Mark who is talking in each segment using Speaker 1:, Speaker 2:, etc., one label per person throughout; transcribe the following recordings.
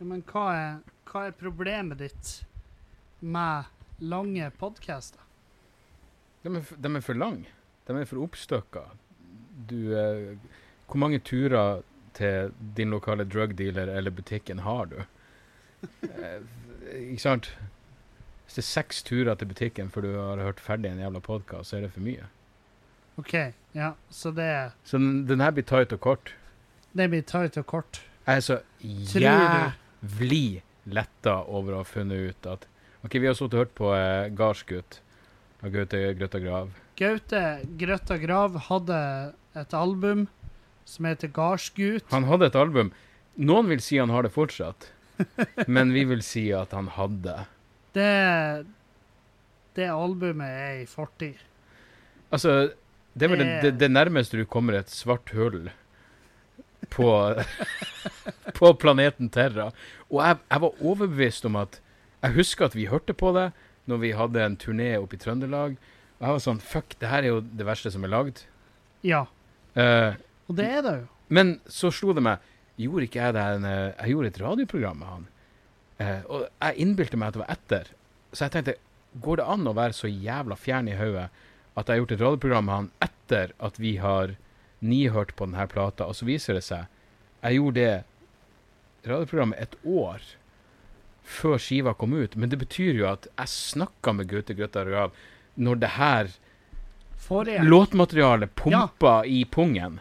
Speaker 1: Ja, men hva er, hva er problemet ditt med lange podcaster?
Speaker 2: De er, f- de er for lange. De er for oppstykka. Du eh, Hvor mange turer til din lokale drugdealer eller butikken har du? Eh, ikke sant? Hvis det er seks turer til butikken før du har hørt ferdig en jævla podkast, så er det for mye.
Speaker 1: OK, ja, så det,
Speaker 2: Så den, den her blir tight og kort.
Speaker 1: det blir tight og kort.
Speaker 2: Jeg er så
Speaker 1: Tror
Speaker 2: jævlig letta over å ha funnet ut at OK, vi har sittet og hørt på eh, Gardsgutt av Gaute Grøtta Grav.
Speaker 1: Gaute Grøtta Grav hadde et album som heter Gardsgut.
Speaker 2: Han hadde et album. Noen vil si han har det fortsatt, men vi vil si at han hadde.
Speaker 1: Det, det albumet er i fortid.
Speaker 2: Altså, det er vel det, det, det nærmeste du kommer et svart hull på, på planeten Terra. Og jeg, jeg var overbevist om at Jeg husker at vi hørte på det når vi hadde en turné oppe i Trøndelag. Og jeg var sånn Fuck, det her er jo det verste som er lagd.
Speaker 1: Ja,
Speaker 2: Eh,
Speaker 1: og det er det jo.
Speaker 2: Men så slo det meg Gjorde ikke jeg det en, eh, Jeg gjorde et radioprogram med han. Eh, og jeg innbilte meg at det var etter. Så jeg tenkte Går det an å være så jævla fjern i hodet at jeg har gjort et radioprogram med han etter at vi har nihørt på denne plata, og så viser det seg Jeg gjorde det radioprogrammet et år før skiva kom ut, men det betyr jo at jeg snakka med Gaute Grøtta Rav når det her
Speaker 1: Forrige.
Speaker 2: låtmaterialet pumpa i pungen.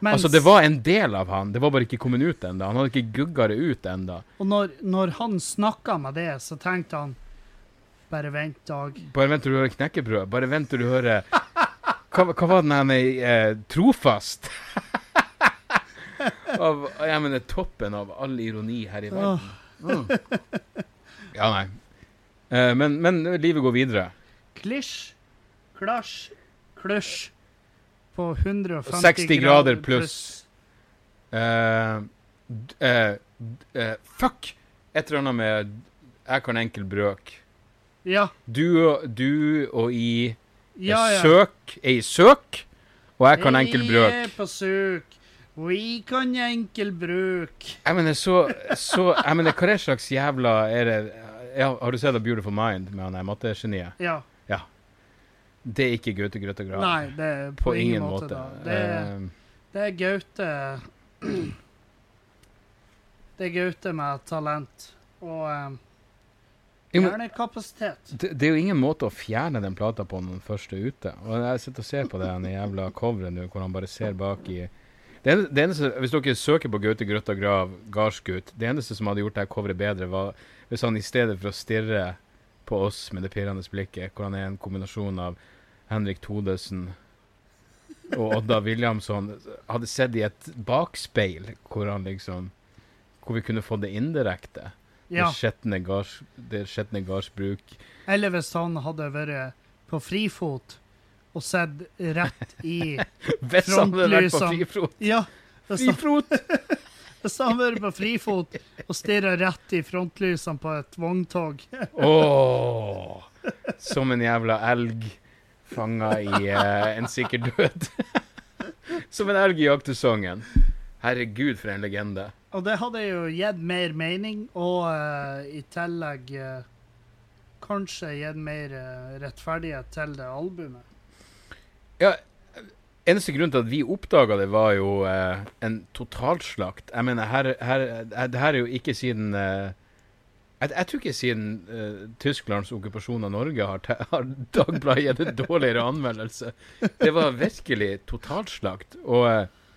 Speaker 1: mens-
Speaker 2: Altså, det var en del av han, det var bare ikke kommet ut enda. Han hadde ikke gugga det ut enda.
Speaker 1: Og når, når han snakka med det, så tenkte han Bare vent, Dag.
Speaker 2: Bare vent til du hører knekkebrød. Bare vent til du hører Hva, hva var den her med eh, Trofast? av, jeg mener toppen av all ironi her i verden. Mm. Ja, nei. Eh, men, men livet går videre.
Speaker 1: Klisj, klasj, klusj på 150
Speaker 2: 60 grader pluss. Eh, d- eh, d- eh, fuck! Et eller annet med Jeg kan enkel brøk.
Speaker 1: Ja,
Speaker 2: Du, og- du og i
Speaker 1: ja, ja.
Speaker 2: Søk er i søk, og jeg kan enkel
Speaker 1: Vi er
Speaker 2: brøk.
Speaker 1: på søk. Vi kan enkel brøk.
Speaker 2: Jeg mener, så, så jeg mener, hva er det slags jævla er det, ja, Har du sett A Beautiful Mind med han der mattegeniet?
Speaker 1: Ja.
Speaker 2: Det er ikke Gaute Grøtta Grav.
Speaker 1: Nei, det er på, ingen, måte. da. Det,
Speaker 2: Eh.
Speaker 1: er- det er Gaute Det er Gaute med talent og um,
Speaker 2: Eh, jo, men
Speaker 1: hjernekapasitet.
Speaker 2: det, det er jo ingen måte å fjerne den plata på når den først er ute. Og jeg sitter og ser på det den jævla coveret nå, hvor han bare ser bak i det eneste, det eneste, Hvis dere søker på Gaute Grøtta Grav, gardsgutt Det eneste som hadde gjort det her coveret bedre, var hvis han i stedet for å stirre på oss med det pirrende blikket, hvor han er en kombinasjon av Henrik Thodesen og Odda Williamson, hadde sett i et bakspeil hvor han liksom Hvor vi kunne fått det indirekte.
Speaker 1: Ja.
Speaker 2: Det skjetne gards- Det skjetne gardsbruk.
Speaker 1: Eller hvis han hadde vært på frifot og sett rett i
Speaker 2: Hvis han hadde vært på
Speaker 1: Frontlysene.
Speaker 2: frifrot.
Speaker 1: Ja, hvis han,
Speaker 2: Frifrot!
Speaker 1: hvis han hadde vært på frifot og stirra rett i frontlysene på et vogntog.
Speaker 2: Åh, som en jævla elg fanga i eh, en sikker død. som en elg i jaktesongen. Herregud, for en legende.
Speaker 1: Og det hadde jo gitt mer mening, og eh, i tillegg eh, kanskje gitt mer eh, rettferdighet til det albumet.
Speaker 2: Ja, eneste grunn til at vi oppdaga det, var jo eh, en totalslakt. Jeg mener, her, her, eh, det her er jo ikke siden eh, jeg, jeg tror ikke siden eh, Tysklands okkupasjon av Norge har, te- har Dagbladet gitt en dårligere anmeldelse. Det var virkelig totalslakt. Og eh,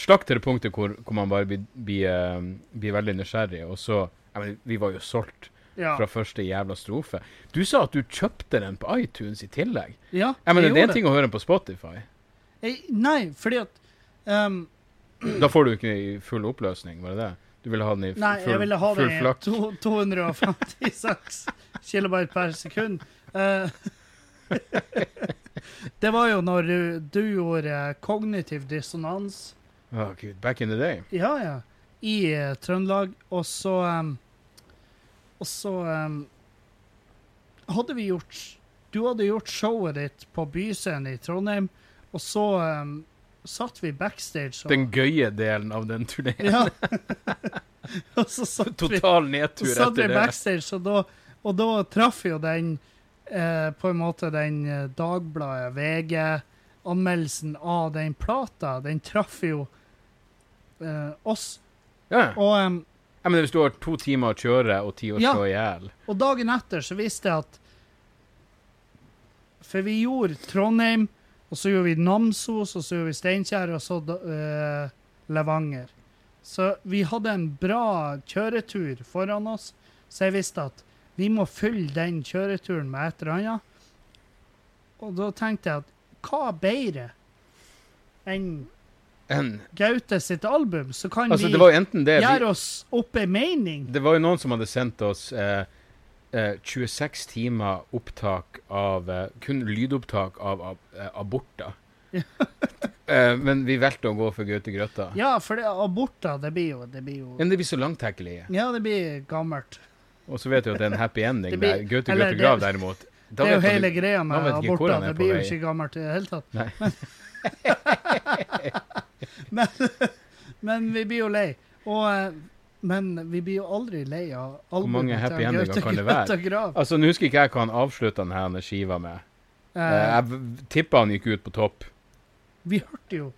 Speaker 2: slakt til det punktet hvor, hvor man bare blir, blir, eh, blir veldig nysgjerrig. Og så jeg mener, Vi var jo solgt
Speaker 1: Ja.
Speaker 2: fra første jævla strofe. Du sa at du kjøpte den på iTunes i tillegg.
Speaker 1: ja
Speaker 2: Jeg mener,
Speaker 1: jeg
Speaker 2: Det er
Speaker 1: gjorde
Speaker 2: en ting å høre den på Spotify.
Speaker 1: Jeg, nei, fordi at ehm,
Speaker 2: Da får du ikke i full oppløsning, var det det? Du ville ha den i f-
Speaker 1: Nei,
Speaker 2: full,
Speaker 1: jeg ville ha det
Speaker 2: full
Speaker 1: i
Speaker 2: flakk?
Speaker 1: to, 256 kilobyte per sekund. Eh, det var jo når du, du gjorde eh, kognitiv dissonans
Speaker 2: Å, Gud, back in the day.
Speaker 1: ja, ja, i eh, Trøndelag, og så em, Og så em, hadde vi gjort Du hadde gjort showet ditt på Byscenen i Trondheim, og så em, satt vi backstage og
Speaker 2: Den gøye delen av den turneen.
Speaker 1: Ja. og så satt vi,
Speaker 2: Total
Speaker 1: så
Speaker 2: nedtur
Speaker 1: satt vi
Speaker 2: etter det.
Speaker 1: backstage, og da, og da traff jo den eh, på en måte den eh, Dagbladet, VG-anmeldelsen av den plata. Den traff jo eh, oss.
Speaker 2: Ja.
Speaker 1: Og, ehm, em,
Speaker 2: ja, men Hvis du har to timer å kjøre og ti å
Speaker 1: Ja.
Speaker 2: slå i hjel
Speaker 1: og dagen etter så visste jeg at For vi gjorde Trondheim, og så gjorde vi Namsos, og så gjorde vi Steinkjer, og så da- eh, Levanger. Så vi hadde en bra kjøretur foran oss, så jeg visste at vi må fylle den kjøreturen med et eller annet. Og da tenkte jeg at hva bedre enn
Speaker 2: en,
Speaker 1: Gaute sitt album? Så kan
Speaker 2: Altså,
Speaker 1: vi
Speaker 2: det var jo enten det vi,
Speaker 1: gjøre oss opp ei mening.
Speaker 2: Det var jo noen som hadde sendt oss eh, eh, 26 timer opptak av eh, Kun lydopptak av ab eh, aborter. eh, men vi valgte å gå for Gaute Grøtta.
Speaker 1: Ja, for det, aborter, det blir jo, det blir jo
Speaker 2: Men det blir så langtekkelig.
Speaker 1: Ja, det blir gammelt.
Speaker 2: Og så vet du at det er en happy ending
Speaker 1: Det blir-
Speaker 2: der. Gaute
Speaker 1: eller
Speaker 2: Grøtta
Speaker 1: det-
Speaker 2: Grav, derimot da
Speaker 1: Det er jo
Speaker 2: vet
Speaker 1: hele
Speaker 2: du-
Speaker 1: greia med
Speaker 2: da vet ikke hvor
Speaker 1: aborter.
Speaker 2: han er
Speaker 1: Det
Speaker 2: på
Speaker 1: blir jo
Speaker 2: vei.
Speaker 1: ikke gammelt i det hele tatt.
Speaker 2: Nei.
Speaker 1: Men, men vi blir jo lei. Og, eh, men vi blir jo aldri lei av albumet
Speaker 2: mange
Speaker 1: til
Speaker 2: happy endinger
Speaker 1: Gaute
Speaker 2: kan det være?
Speaker 1: Grøtta Grav.
Speaker 2: Altså, Nå husker ikke jeg hva han avslutta denne skiva med. Eh,
Speaker 1: Eh,
Speaker 2: jeg v- tippa han gikk ut på topp.
Speaker 1: vi hørte jo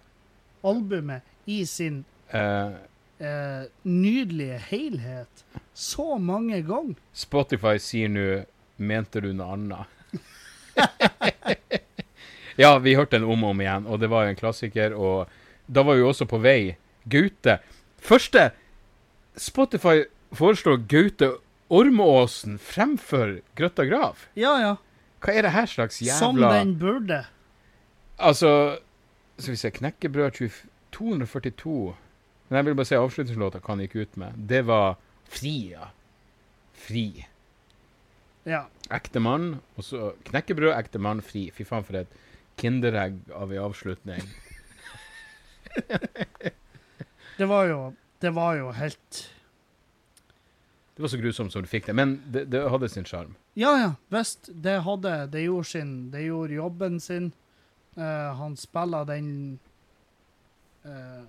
Speaker 1: albumet i sin
Speaker 2: Eh,
Speaker 1: eh, nydelige helhet så mange ganger.
Speaker 2: Spotify sier nå 'mente du noe annet'? ja, vi hørte den om og om igjen, og det var jo en klassiker. Og da var vi jo også på vei. Gaute. Første Spotify foreslår Gaute Ormåsen fremfor Grøtta Grav.
Speaker 1: Ja, ja.
Speaker 2: Hva er det her slags
Speaker 1: Som
Speaker 2: jævla
Speaker 1: den burde.
Speaker 2: Altså Skal vi se Knekkebrød 20 242 Men jeg vil bare si avslutningslåta hva han gikk ut med. Det var Fri, ja. Fri.
Speaker 1: Ja.
Speaker 2: Ektemann, og så knekkebrød, ektemann, fri. Fy faen, for et kinderegg av en avslutning.
Speaker 1: Det var jo, det var jo helt
Speaker 2: Det var så grusomt som du fikk det, men det, det hadde sin sjarm.
Speaker 1: Ja, ja. Visst, det hadde Det gjorde sin Det gjorde jobben sin. Eh, han spiller den eh,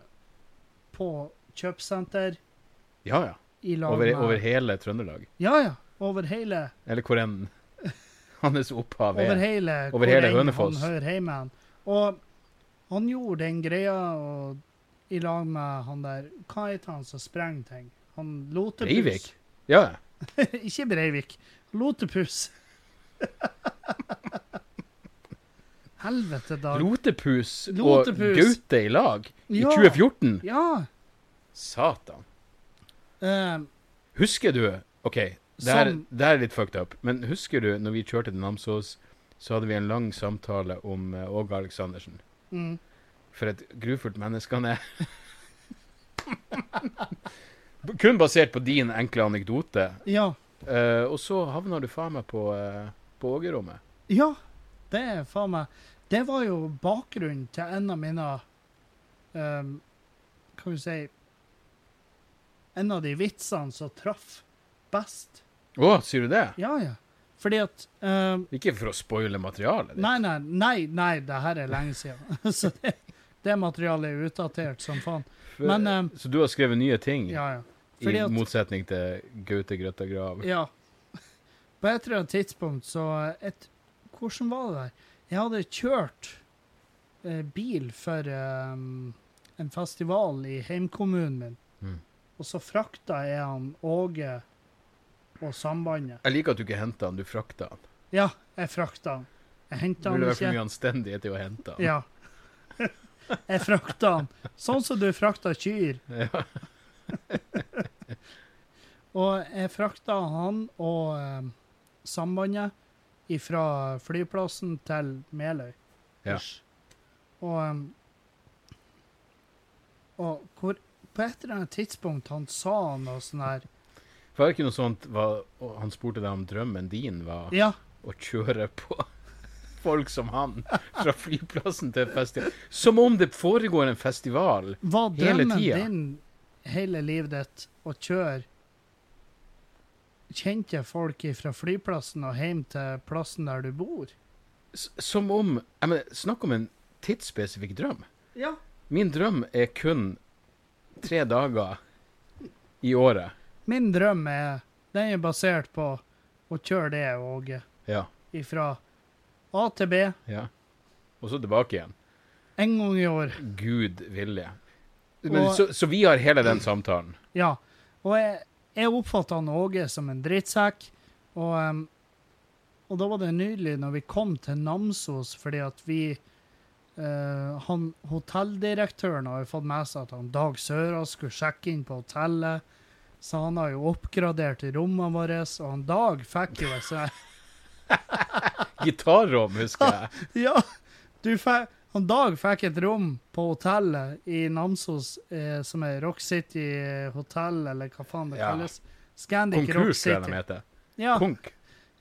Speaker 1: på kjøpesenter
Speaker 2: Ja, ja.
Speaker 1: i lag
Speaker 2: Over,
Speaker 1: med
Speaker 2: over hele Trøndelag.
Speaker 1: Ja, ja. Over hele
Speaker 2: Eller hvor enn hans opphav
Speaker 1: Over
Speaker 2: er.
Speaker 1: hele, hvor
Speaker 2: Over hele
Speaker 1: enn
Speaker 2: Hønefoss.
Speaker 1: Han hører hjemme. hen. Og han gjorde den greia og, i lag med han der Hva heter han som sprenger ting? Han Lotepus.
Speaker 2: Breivik? Ja, ja.
Speaker 1: Ikke Breivik. Lotepus. Helvete, Dag.
Speaker 2: Lotepus, og
Speaker 1: Lotepus.
Speaker 2: Gaute i lag i
Speaker 1: Ja.
Speaker 2: 2014.
Speaker 1: Ja.
Speaker 2: Satan.
Speaker 1: eh,
Speaker 2: Husker du OK, det her,
Speaker 1: Som-
Speaker 2: det her er litt fucked up, men husker du når vi kjørte til Namsos, så hadde vi en lang samtale om eh, Åge Aleksandersen?
Speaker 1: mm.
Speaker 2: For et grufullt menneske han er. Kun basert på din enkle anekdote.
Speaker 1: Ja.
Speaker 2: Eh, og så havna du faen meg på, eh, på Ågerommet.
Speaker 1: Ja, det er faen meg Det var jo bakgrunnen til en av mine ehm, Kan vi si En av de vitsene som traff best.
Speaker 2: Å, sier du det?
Speaker 1: Ja, ja. Fordi at ehm,
Speaker 2: Ikke for å spoile materialet. ditt.
Speaker 1: Nei, nei, nei, nei, det her er lenge siden. Så det, det materialet er utdatert som faen.
Speaker 2: For,
Speaker 1: men, eh,
Speaker 2: så du har skrevet nye ting,
Speaker 1: Ja, ja.
Speaker 2: i
Speaker 1: fordi at-
Speaker 2: motsetning til Gaute Grøtta Grav.
Speaker 1: Ja. På et eller annet tidspunkt så et, Hvordan var det der? Jeg hadde kjørt eh, bil for eh, en festival i heimkommunen min.
Speaker 2: Mm.
Speaker 1: Og så frakta jeg han Åge og Sambandet.
Speaker 2: Jeg liker at du ikke henta han, du frakta han.
Speaker 1: Ja, jeg frakta han. Jeg
Speaker 2: Det
Speaker 1: henta
Speaker 2: ville
Speaker 1: han
Speaker 2: vært for
Speaker 1: ikke.
Speaker 2: mye anstendighet i å hente han.
Speaker 1: Ja. jeg frakta han. Sånn som du frakta kyr.
Speaker 2: Ja.
Speaker 1: Og jeg frakta han og eh, sambandet fra flyplassen til Meløy.
Speaker 2: Ja.
Speaker 1: Ish. Og, em, og hvor, på et eller annet tidspunkt han sa noe sånn her
Speaker 2: Var det ikke noe sånt hva, og Han spurte deg om drømmen din var
Speaker 1: Ja,
Speaker 2: å kjøre på folk som han fra flyplassen til festival. Som om det foregår en festival.
Speaker 1: var
Speaker 2: Hele
Speaker 1: drømmen
Speaker 2: tida.
Speaker 1: din hele livet ditt å kjøre kjente folk fra flyplassen og hjem til plassen der du bor?
Speaker 2: S som om jeg mener, Snakk om en tidsspesifikk drøm.
Speaker 3: Ja.
Speaker 2: Min drøm er kun tre dager i året.
Speaker 1: Min drøm er Den er basert på å kjøre det, Åge.
Speaker 2: Ja.
Speaker 1: Ifra A til B
Speaker 2: ja. Og så tilbake igjen.
Speaker 1: en gang i år.
Speaker 2: Gud vilje. Men,
Speaker 1: Og-
Speaker 2: så, så vi har hele den samtalen.
Speaker 1: Ja. Og jeg, jeg oppfatta han Åge som en drittsekk. Og, em, og da var det nydelig når vi kom til Namsos, fordi at vi eh, han, Hotelldirektøren har jo fått med seg at han Dag Sørås skulle sjekke inn på hotellet. Så han har jo oppgradert rommene våre, og han Dag fikk jo et sånt
Speaker 2: Gitarrom, husker jeg.
Speaker 1: Ja, du fe- han Dag fikk et rom på hotellet i Namsos, eh, som er Rock City eh, hotell, eller hva faen det
Speaker 2: Ja.
Speaker 1: kalles. Scandic Rock
Speaker 2: Konkurs, tror jeg
Speaker 1: City.
Speaker 2: de heter.
Speaker 1: Ja,
Speaker 2: Konk.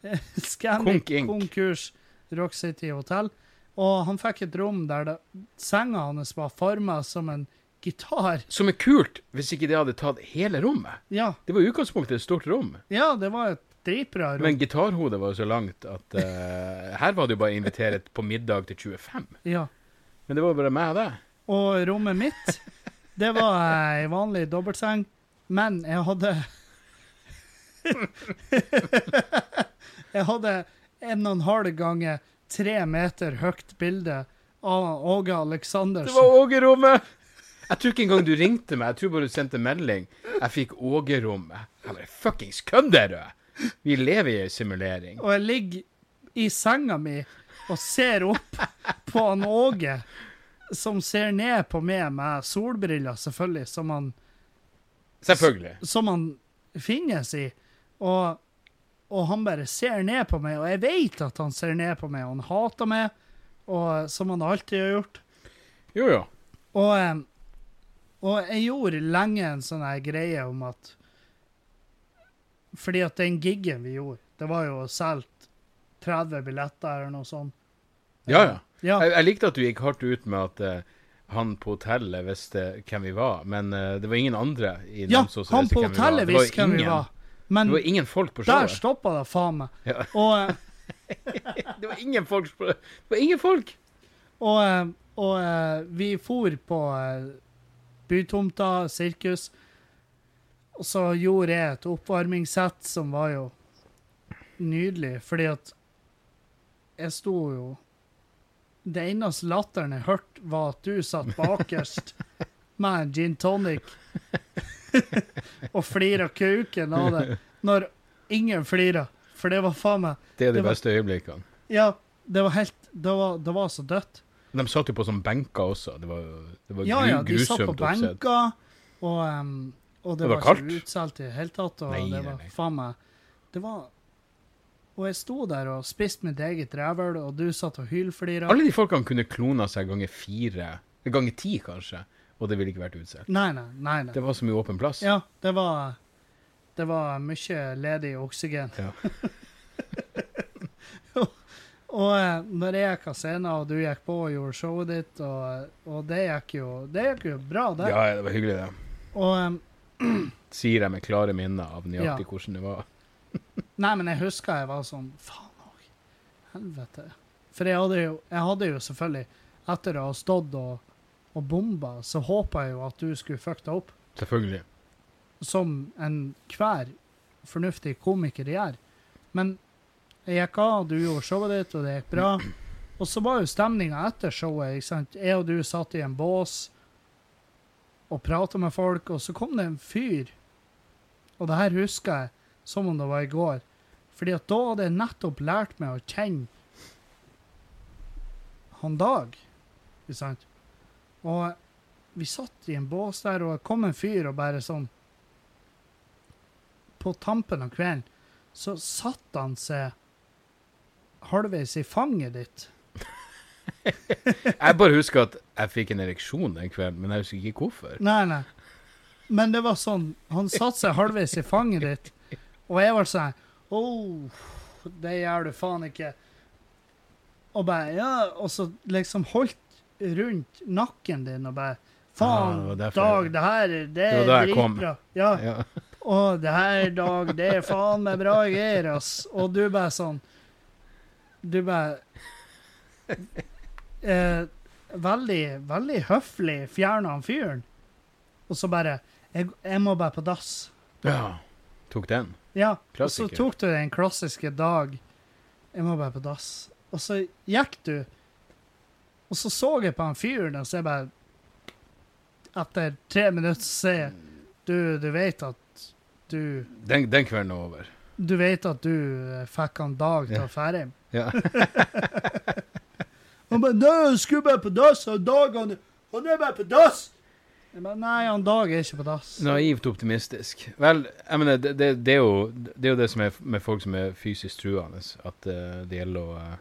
Speaker 1: Scandic
Speaker 2: Konk Inc.
Speaker 1: Konkurs Rock City hotell. Og han fikk et rom der det, senga hans var forma som en gitar.
Speaker 2: Som er kult, hvis ikke det hadde tatt hele rommet.
Speaker 1: Ja,
Speaker 2: Det var i utgangspunktet et stort rom,
Speaker 1: ja det var et dritbra rom.
Speaker 2: men gitarhodet var jo så langt at eh, her var det jo bare å invitere på middag til 25.
Speaker 1: Ja.
Speaker 2: Men det var jo bare meg og deg.
Speaker 1: Og rommet mitt, det var ei vanlig dobbeltseng, men jeg hadde Jeg hadde en og en halv ganger tre meter høyt bilde av Åge
Speaker 2: Det
Speaker 1: Aleksandersen.
Speaker 2: var Åge-rommet! Jeg tror ikke engang du ringte meg, jeg tror bare du sendte melding. Jeg fikk Åge-rommet. Jeg bare fuckings kødder du! Vi lever i ei simulering.
Speaker 1: Og jeg ligger i senga mi og ser opp på han Åge, som ser ned på meg med solbriller, selvfølgelig, som han
Speaker 2: Selvfølgelig.
Speaker 1: som han finnes i. Og, og han bare ser ned på meg, og jeg vet at han ser ned på meg, og han hater meg, og, som han alltid har gjort.
Speaker 2: Jo, jo.
Speaker 1: Og, em, og jeg gjorde lenge en sånn her greie om at Fordi at den giggen vi gjorde, det var jo solgt 30 billetter eller noe sånt.
Speaker 2: Ja, ja.
Speaker 1: Ja,
Speaker 2: Jeg, jeg likte at du gikk hardt ut med at eh, han på hotellet visste hvem vi var, men eh, det var ingen andre i
Speaker 1: ja
Speaker 2: Namsos som
Speaker 1: han
Speaker 2: visste
Speaker 1: på
Speaker 2: hvem vi var.
Speaker 1: hotellet
Speaker 2: Det var
Speaker 1: visste hvem vi
Speaker 2: ingen-
Speaker 1: var. Men
Speaker 2: Det var ingen folk på
Speaker 1: der
Speaker 2: showet.
Speaker 1: stoppa det faen meg.
Speaker 2: Ja.
Speaker 1: Og eh,
Speaker 2: Det var ingen folk! på- Det var ingen folk!
Speaker 1: Og, eh, og eh, vi for på eh, bytomta, sirkus, og så gjorde jeg et oppvarmingssett som var jo nydelig, fordi at jeg sto jo Det eneste latteren jeg hørte, var at du satt bakerst med en gin tonic og flira kuken av det, når ingen flira, for det var faen meg
Speaker 2: Det er de
Speaker 1: Det var-
Speaker 2: beste øyeblikkene.
Speaker 1: Ja, det var helt Det var, det var så dødt.
Speaker 2: De satt jo på sånne benker også. Det var, jo- det var
Speaker 1: Ja,
Speaker 2: gru,
Speaker 1: ja, de satt på
Speaker 2: grusomt oppsett.
Speaker 1: benker, og, em, og det,
Speaker 2: Det var
Speaker 1: var,
Speaker 2: kaldt.
Speaker 1: ikke utsolgt i det hele tatt. Og det
Speaker 2: Nei, nei,
Speaker 1: var
Speaker 2: nei.
Speaker 1: faen meg Det var Og jeg sto der og spiste mitt eget rævhøl, og du satt og hylflira.
Speaker 2: Alle de folkene kunne klona seg ganger fire, ganger ti kanskje, og det ville ikke vært utsolgt.
Speaker 1: Nei, nei, nei. nei.
Speaker 2: Det var så mye åpen plass.
Speaker 1: Ja, det var Det var mye ledig oksygen.
Speaker 2: Ja.
Speaker 1: Og eh, når jeg gikk av scenen, og du gikk på og gjorde showet ditt, og, og det gikk jo Det gikk jo bra, det.
Speaker 2: Ja, ja, det var hyggelig, det.
Speaker 1: Og em,
Speaker 2: Sier jeg med klare minner av nøyaktig
Speaker 1: Ja.
Speaker 2: hvordan det var.
Speaker 1: Nei, men jeg husker jeg var sånn Faen òg. Helvete. For jeg hadde jo, jeg hadde jo selvfølgelig, etter å ha stått og, og bomba, så håpa jeg jo at du skulle fucke deg opp.
Speaker 2: Selvfølgelig.
Speaker 1: Som enhver fornuftig komiker gjør. Men jeg gikk av, du gjorde showet ditt, og det gikk bra. Og så var jo stemninga etter showet. ikke sant? Jeg og du satt i en bås og prata med folk, og så kom det en fyr. Og det her husker jeg som om det var i går. Fordi at da hadde jeg nettopp lært meg å kjenne han Dag. Ikke sant? Og vi satt i en bås der, og det kom en fyr og bare sånn På tampen av kvelden så satt han seg halvveis i fanget ditt.
Speaker 2: Jeg bare husker at jeg fikk en ereksjon den kvelden, men jeg husker ikke hvorfor.
Speaker 1: Nei, nei. Men det var sånn Han satte seg halvveis i fanget ditt, og jeg var sånn Oh, det gjør du faen ikke. Og bare Ja, og så liksom holdt rundt nakken din og bare Faen,
Speaker 2: Ah, det var derfor
Speaker 1: Dag,
Speaker 2: jeg-
Speaker 1: det her det
Speaker 2: var
Speaker 1: er
Speaker 2: da jeg kom.
Speaker 1: dritbra. Ja.
Speaker 2: Ja.
Speaker 1: Og det her, Dag, det er faen meg bra greier, ass. Og du bare sånn Du bare eh, veldig, veldig høflig fjerna han fyren. Og så bare jeg, 'Jeg må bare på dass'.
Speaker 2: Ja. Tok den.
Speaker 1: Ja, og så
Speaker 2: Klassiker.
Speaker 1: tok du den klassiske dag Jeg må bare på dass. Og så gikk du, og så så jeg på han fyren, og så jeg bare Etter tre minutter så sier jeg du, du vet at du
Speaker 2: Den, den kvelden er over.
Speaker 1: Du vet at du eh, fikk han Dag til
Speaker 2: Ja.
Speaker 1: å fære hjem?
Speaker 2: Ja.
Speaker 1: Han bare 'Nei, jeg skulle bare på dass, og Dag han, han er bare på dass'. Jeg bare, Nei, han Dag er ikke på dass.
Speaker 2: Naivt optimistisk. Vel, jeg mener, det, det, det, er jo, det er jo det som er f- med folk som er fysisk truende, at eh, det gjelder å, eh,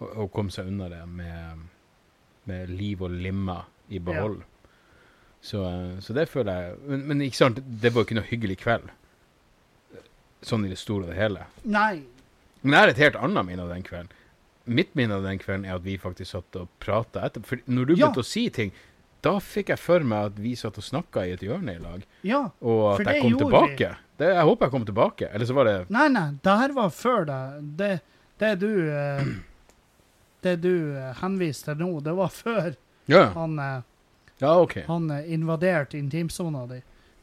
Speaker 2: å, å komme seg unna det med, med liv og limmer i behold. Så, eh, så det føler jeg men, men ikke sant, det var jo ikke noe hyggelig kveld. Sånn i det store og det hele.
Speaker 1: Nei.
Speaker 2: Men jeg har et helt annet minne av den kvelden. Mitt minne av den kvelden er at vi faktisk satt og prata etterpå. For når du
Speaker 1: Ja.
Speaker 2: begynte å si ting, da fikk jeg for meg at vi satt og snakka i et hjørne i lag,
Speaker 1: Ja.
Speaker 2: og
Speaker 1: For
Speaker 2: at
Speaker 1: det
Speaker 2: jeg kom
Speaker 1: gjorde vi.
Speaker 2: tilbake. Det, jeg håper jeg kom tilbake. Eller så var det
Speaker 1: Nei, nei, det her var før deg. Det, det du eh, Det du eh, henviste til nå, det var før
Speaker 2: Ja,
Speaker 1: han, eh,
Speaker 2: ja OK.
Speaker 1: han eh, invaderte intimsona di.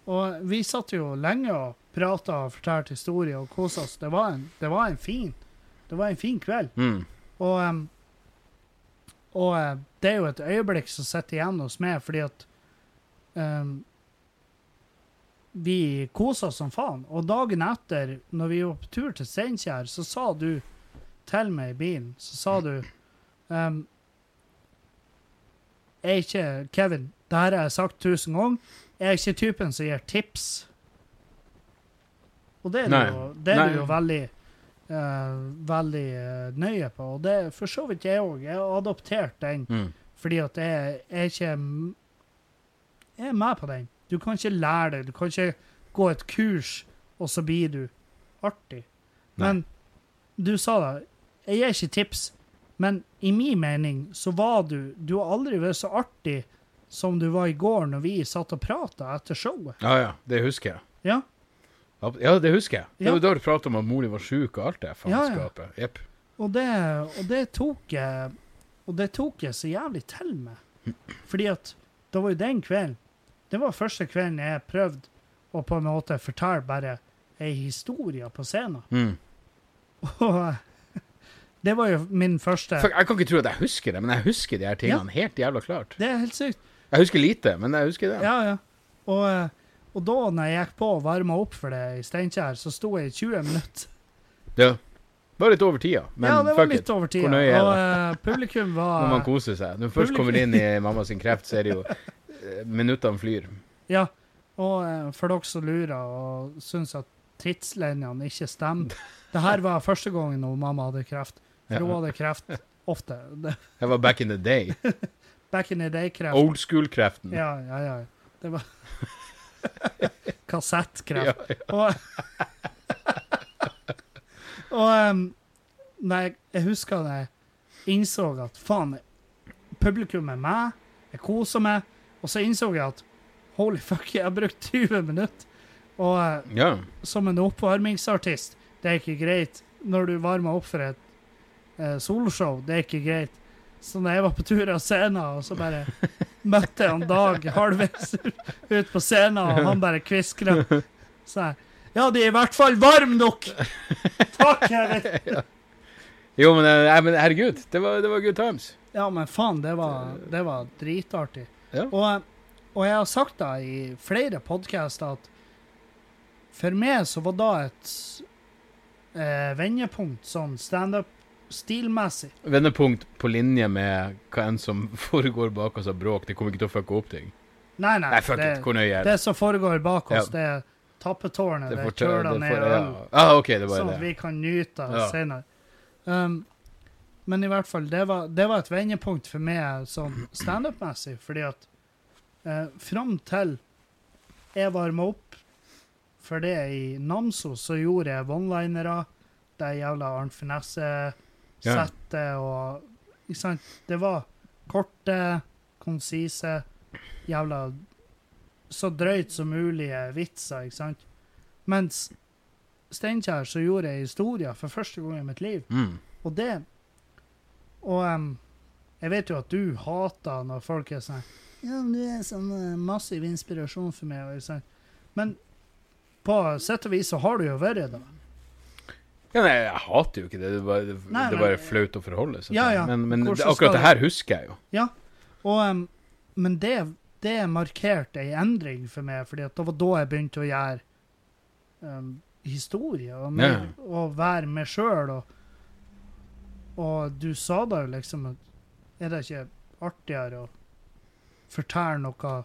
Speaker 1: Og vi satt jo lenge og prata og fortalte historier og kosa oss. Det var, en, det var en fin Det var en fin kveld.
Speaker 2: Mm.
Speaker 1: Og, em, og eh, det er jo et øyeblikk som sitter igjen hos meg, fordi at em, vi kosa oss som faen. Og dagen etter, når vi var på tur til Steinkjer, så sa du til meg i bilen, så sa du em, Jeg er ikke Kevin, det her har jeg sagt tusen ganger. Jeg er ikke typen som gir tips. Og det er du
Speaker 2: Nei.
Speaker 1: jo, det er du
Speaker 2: Nei.
Speaker 1: jo veldig eh, veldig eh, nøye på. Og det er for så vidt jeg òg. Jeg har adoptert den
Speaker 2: Mm.
Speaker 1: fordi at jeg, jeg er ikke m- Jeg er med på den. Du kan ikke lære det. Du kan ikke gå et kurs, og så blir du artig.
Speaker 2: Nei.
Speaker 1: Men du sa det. Jeg gir ikke tips, men i min mening så var du Du har aldri vært så artig som du var i går når vi satt og prata etter showet.
Speaker 2: Ja, ja. Det husker jeg.
Speaker 1: Ja.
Speaker 2: Ab- Ja, det husker jeg. Det
Speaker 1: Ja.
Speaker 2: var da du pratet om at mor din var sjuk og alt det
Speaker 1: Ja, ja.
Speaker 2: faenskapet. Jepp.
Speaker 1: Og det, og det tok jeg Og det tok jeg så jævlig til meg. Fordi at det var jo den kvelden Det var første kvelden jeg prøvde å på en måte fortelle bare ei historie på scenen.
Speaker 2: Mm.
Speaker 1: Og eh, det var jo min første
Speaker 2: Fuck, Jeg kan ikke tro at jeg husker det, men jeg husker de her tingene helt jævla klart.
Speaker 1: Det er helt sykt.
Speaker 2: Jeg husker lite, men jeg husker det.
Speaker 1: Ja, ja. Og, eh, og da når jeg gikk på og varma opp for det i Steinkjer, så sto jeg i 20 minutter.
Speaker 2: Ja. Var litt over tida, men
Speaker 1: ja, det var
Speaker 2: fuck it.
Speaker 1: litt over tida.
Speaker 2: Hvor nøye er
Speaker 1: Og eh, publikum
Speaker 2: Når man
Speaker 1: var
Speaker 2: koser seg. Når man først kommer inn i mamma sin kreft, så er det jo eh, Minuttene flyr.
Speaker 1: Ja, og eh, for dere som lurer og syns at tidslinjene ikke stemmer Det her var første gangen hun mamma hadde kreft. For hun
Speaker 2: Ja.
Speaker 1: hadde kreft ofte. Det-
Speaker 2: Det var back in the day.
Speaker 1: Back in the day-kreft.
Speaker 2: Old school-kreften.
Speaker 1: Ja, ja, ja. Det var Kassettkreft.
Speaker 2: Ja,
Speaker 1: Og, og em, Nei, jeg husker da jeg innså at faen, publikum er meg, jeg koser meg, og så innså jeg at holy fuck, jeg har brukt 20 minutter. Og eh,
Speaker 2: ja.
Speaker 1: som en oppvarmingsartist, det er ikke greit. Når du varmer opp for et eh, soloshow, det er ikke greit. Så da jeg var på tur av scenen, og så bare møtte jeg han Dag halvveis ut på scenen, og han bare kviskra. Så jeg Ja, de er i hvert fall varme nok! Takk, Kevin!
Speaker 2: Jo, men, eh, nei, men herregud, det var, det var good times.
Speaker 1: Ja, men faen, det var, det var dritartig.
Speaker 2: Ja.
Speaker 1: Og, og jeg har sagt da i flere podcaster at for meg så var da et eh, vendepunkt sånn stand-up stilmessig.
Speaker 2: Vendepunkt på linje med hva enn som foregår bak oss av bråk. Det kommer ikke til å fucke opp ting.
Speaker 1: Nei, nei,
Speaker 2: Nei, fuck
Speaker 1: det,
Speaker 2: it, hvor nøye er det?
Speaker 1: det som foregår bak oss,
Speaker 2: Ja.
Speaker 1: det er tappetårnet, det, er
Speaker 2: får til-
Speaker 1: kjøla
Speaker 2: det
Speaker 1: ned
Speaker 2: får-
Speaker 1: øl,
Speaker 2: ja. Ah, OK, det var
Speaker 1: sånn at
Speaker 2: det.
Speaker 1: vi kan nyte det
Speaker 2: Ja.
Speaker 1: senere. Um, men i hvert fall, det var, det var et vendepunkt for meg sånn standup-messig, fordi at eh, fram til jeg varma opp for det i Namsos, så gjorde jeg one-linere, det jævla Arnt Finesse-settet og Ikke sant? Det var korte, konsise, jævla så drøyt som mulig eh, vitser, ikke sant? Mens Steinkjer så gjorde jeg historier for første gang i mitt liv.
Speaker 2: Mm.
Speaker 1: Og det Og em, Jeg vet jo at du hater når folk er sånn Ja, men du er en sånn eh, massiv inspirasjon for meg. Og jeg er sånn, men på sett og vis så har du jo vært det.
Speaker 2: Ja, nei, jeg hater jo ikke det. Det er bare, det,
Speaker 1: Nei,
Speaker 2: det er
Speaker 1: men-
Speaker 2: bare flaut å forholde seg til.
Speaker 1: Ja, ja.
Speaker 2: Men, men
Speaker 1: Hvordan
Speaker 2: det,
Speaker 1: skal
Speaker 2: akkurat det her husker jeg jo.
Speaker 1: Og, em, men det, det markerte ei endring for meg, fordi at det var da jeg begynte å gjøre em, historie og, mer, og være meg sjøl. Og, og du sa da jo liksom at Er det ikke artigere å fortelle noe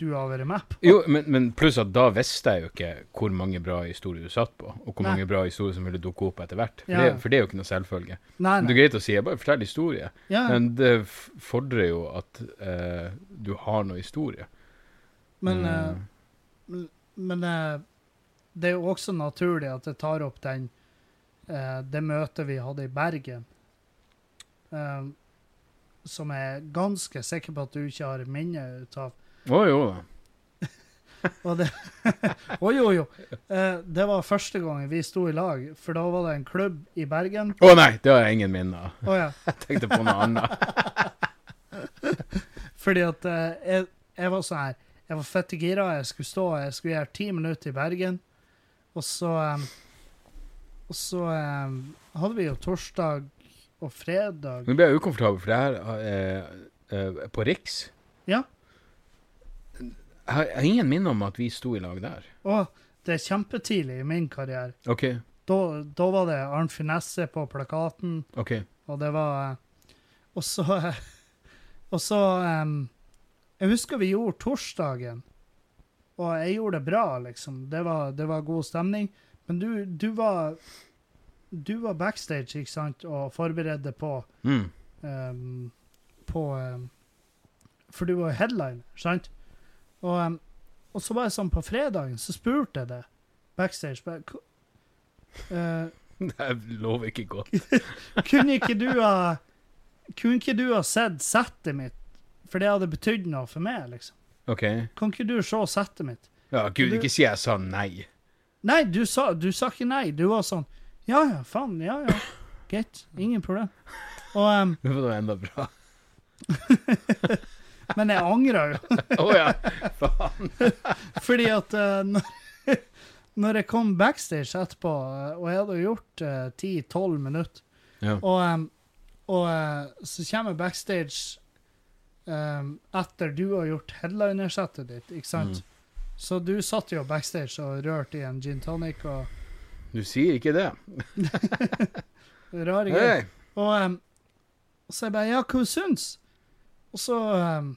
Speaker 1: du har vært med på?
Speaker 2: jo men, men pluss at da visste jeg jo ikke hvor mange bra historier du satt på, og hvor
Speaker 1: Nei.
Speaker 2: mange bra historier som ville dukke opp etter hvert. For,
Speaker 1: Ja, ja.
Speaker 2: det, for det er jo ikke noe selvfølge.
Speaker 1: Nei,
Speaker 2: Men Det er
Speaker 1: nei.
Speaker 2: greit å si jeg bare forteller historier,
Speaker 1: Ja, ja.
Speaker 2: men det f- fordrer jo at eh, du har noe historie.
Speaker 1: men
Speaker 2: Eh,
Speaker 1: eh, Men eh, det er jo også naturlig at jeg tar opp den eh, det møtet vi hadde i Bergen. Eh, som jeg er ganske sikker på at du ikke har minne ut av.
Speaker 2: Å jo da.
Speaker 1: Og det Å jo, jo. Eh, det var første gangen vi sto i lag, for da var det en klubb i Bergen.
Speaker 2: Å nei, det har jeg ingen minner av.
Speaker 1: Å ja.
Speaker 2: Jeg tenkte på noe annet.
Speaker 1: Fordi at eh, jeg, jeg var sånn her Jeg var fette gira, jeg skulle stå, jeg skulle gjøre ti minutter i Bergen. Og så eh, Og så eh, hadde vi jo torsdag og fredag
Speaker 2: Nå blir jeg ukomfortabel, for det her eh, eh, på Riks
Speaker 1: Ja.
Speaker 2: Jeg har, jeg har ingen minner om at vi sto i lag der.
Speaker 1: Og det er kjempetidlig i min karriere.
Speaker 2: OK.
Speaker 1: Da, da var det Arnt Finesse på plakaten,
Speaker 2: ok.
Speaker 1: og det var eh, Og så eh, Og så eh, Jeg husker vi gjorde torsdagen, og jeg gjorde det bra, liksom. Det var, det var god stemning. Men du, du var Du var backstage, ikke sant, og forberedte på
Speaker 2: Mm.
Speaker 1: ehm, På ehm, For du var jo headliner, sant? Og, ehm, og så var jeg sånn på fredagen, så spurte jeg det backstage. bare, "Ko- eh,
Speaker 2: Det her lover ikke godt.
Speaker 1: kunne ikke du ha Kunne ikke du ha sett settet mitt? For det hadde betydd noe for meg, liksom.
Speaker 2: OK.
Speaker 1: Kan ikke du se settet mitt?
Speaker 2: Ja, gud, ikke si jeg sa nei.
Speaker 1: Nei, du sa, du sa ikke nei. Du var sånn Ja ja, faen. Ja ja. Greit. Ingen problem. Og, ehm,
Speaker 2: Det var enda bra.
Speaker 1: men jeg angra jo.
Speaker 2: Å ja. Faen.
Speaker 1: Fordi at eh, når, når jeg kom backstage etterpå, eh, og jeg hadde jo gjort eh, 10-12 minutter,
Speaker 2: Ja.
Speaker 1: og, em, og eh, så kommer jeg backstage em, etter du har gjort headlinersettet ditt, ikke sant? Så du satt jo backstage og rørte i en gin tonic og
Speaker 2: Du sier ikke det.
Speaker 1: rare greier.
Speaker 2: Hei.
Speaker 1: Og em, så jeg bare Ja, hva syns? Og så em,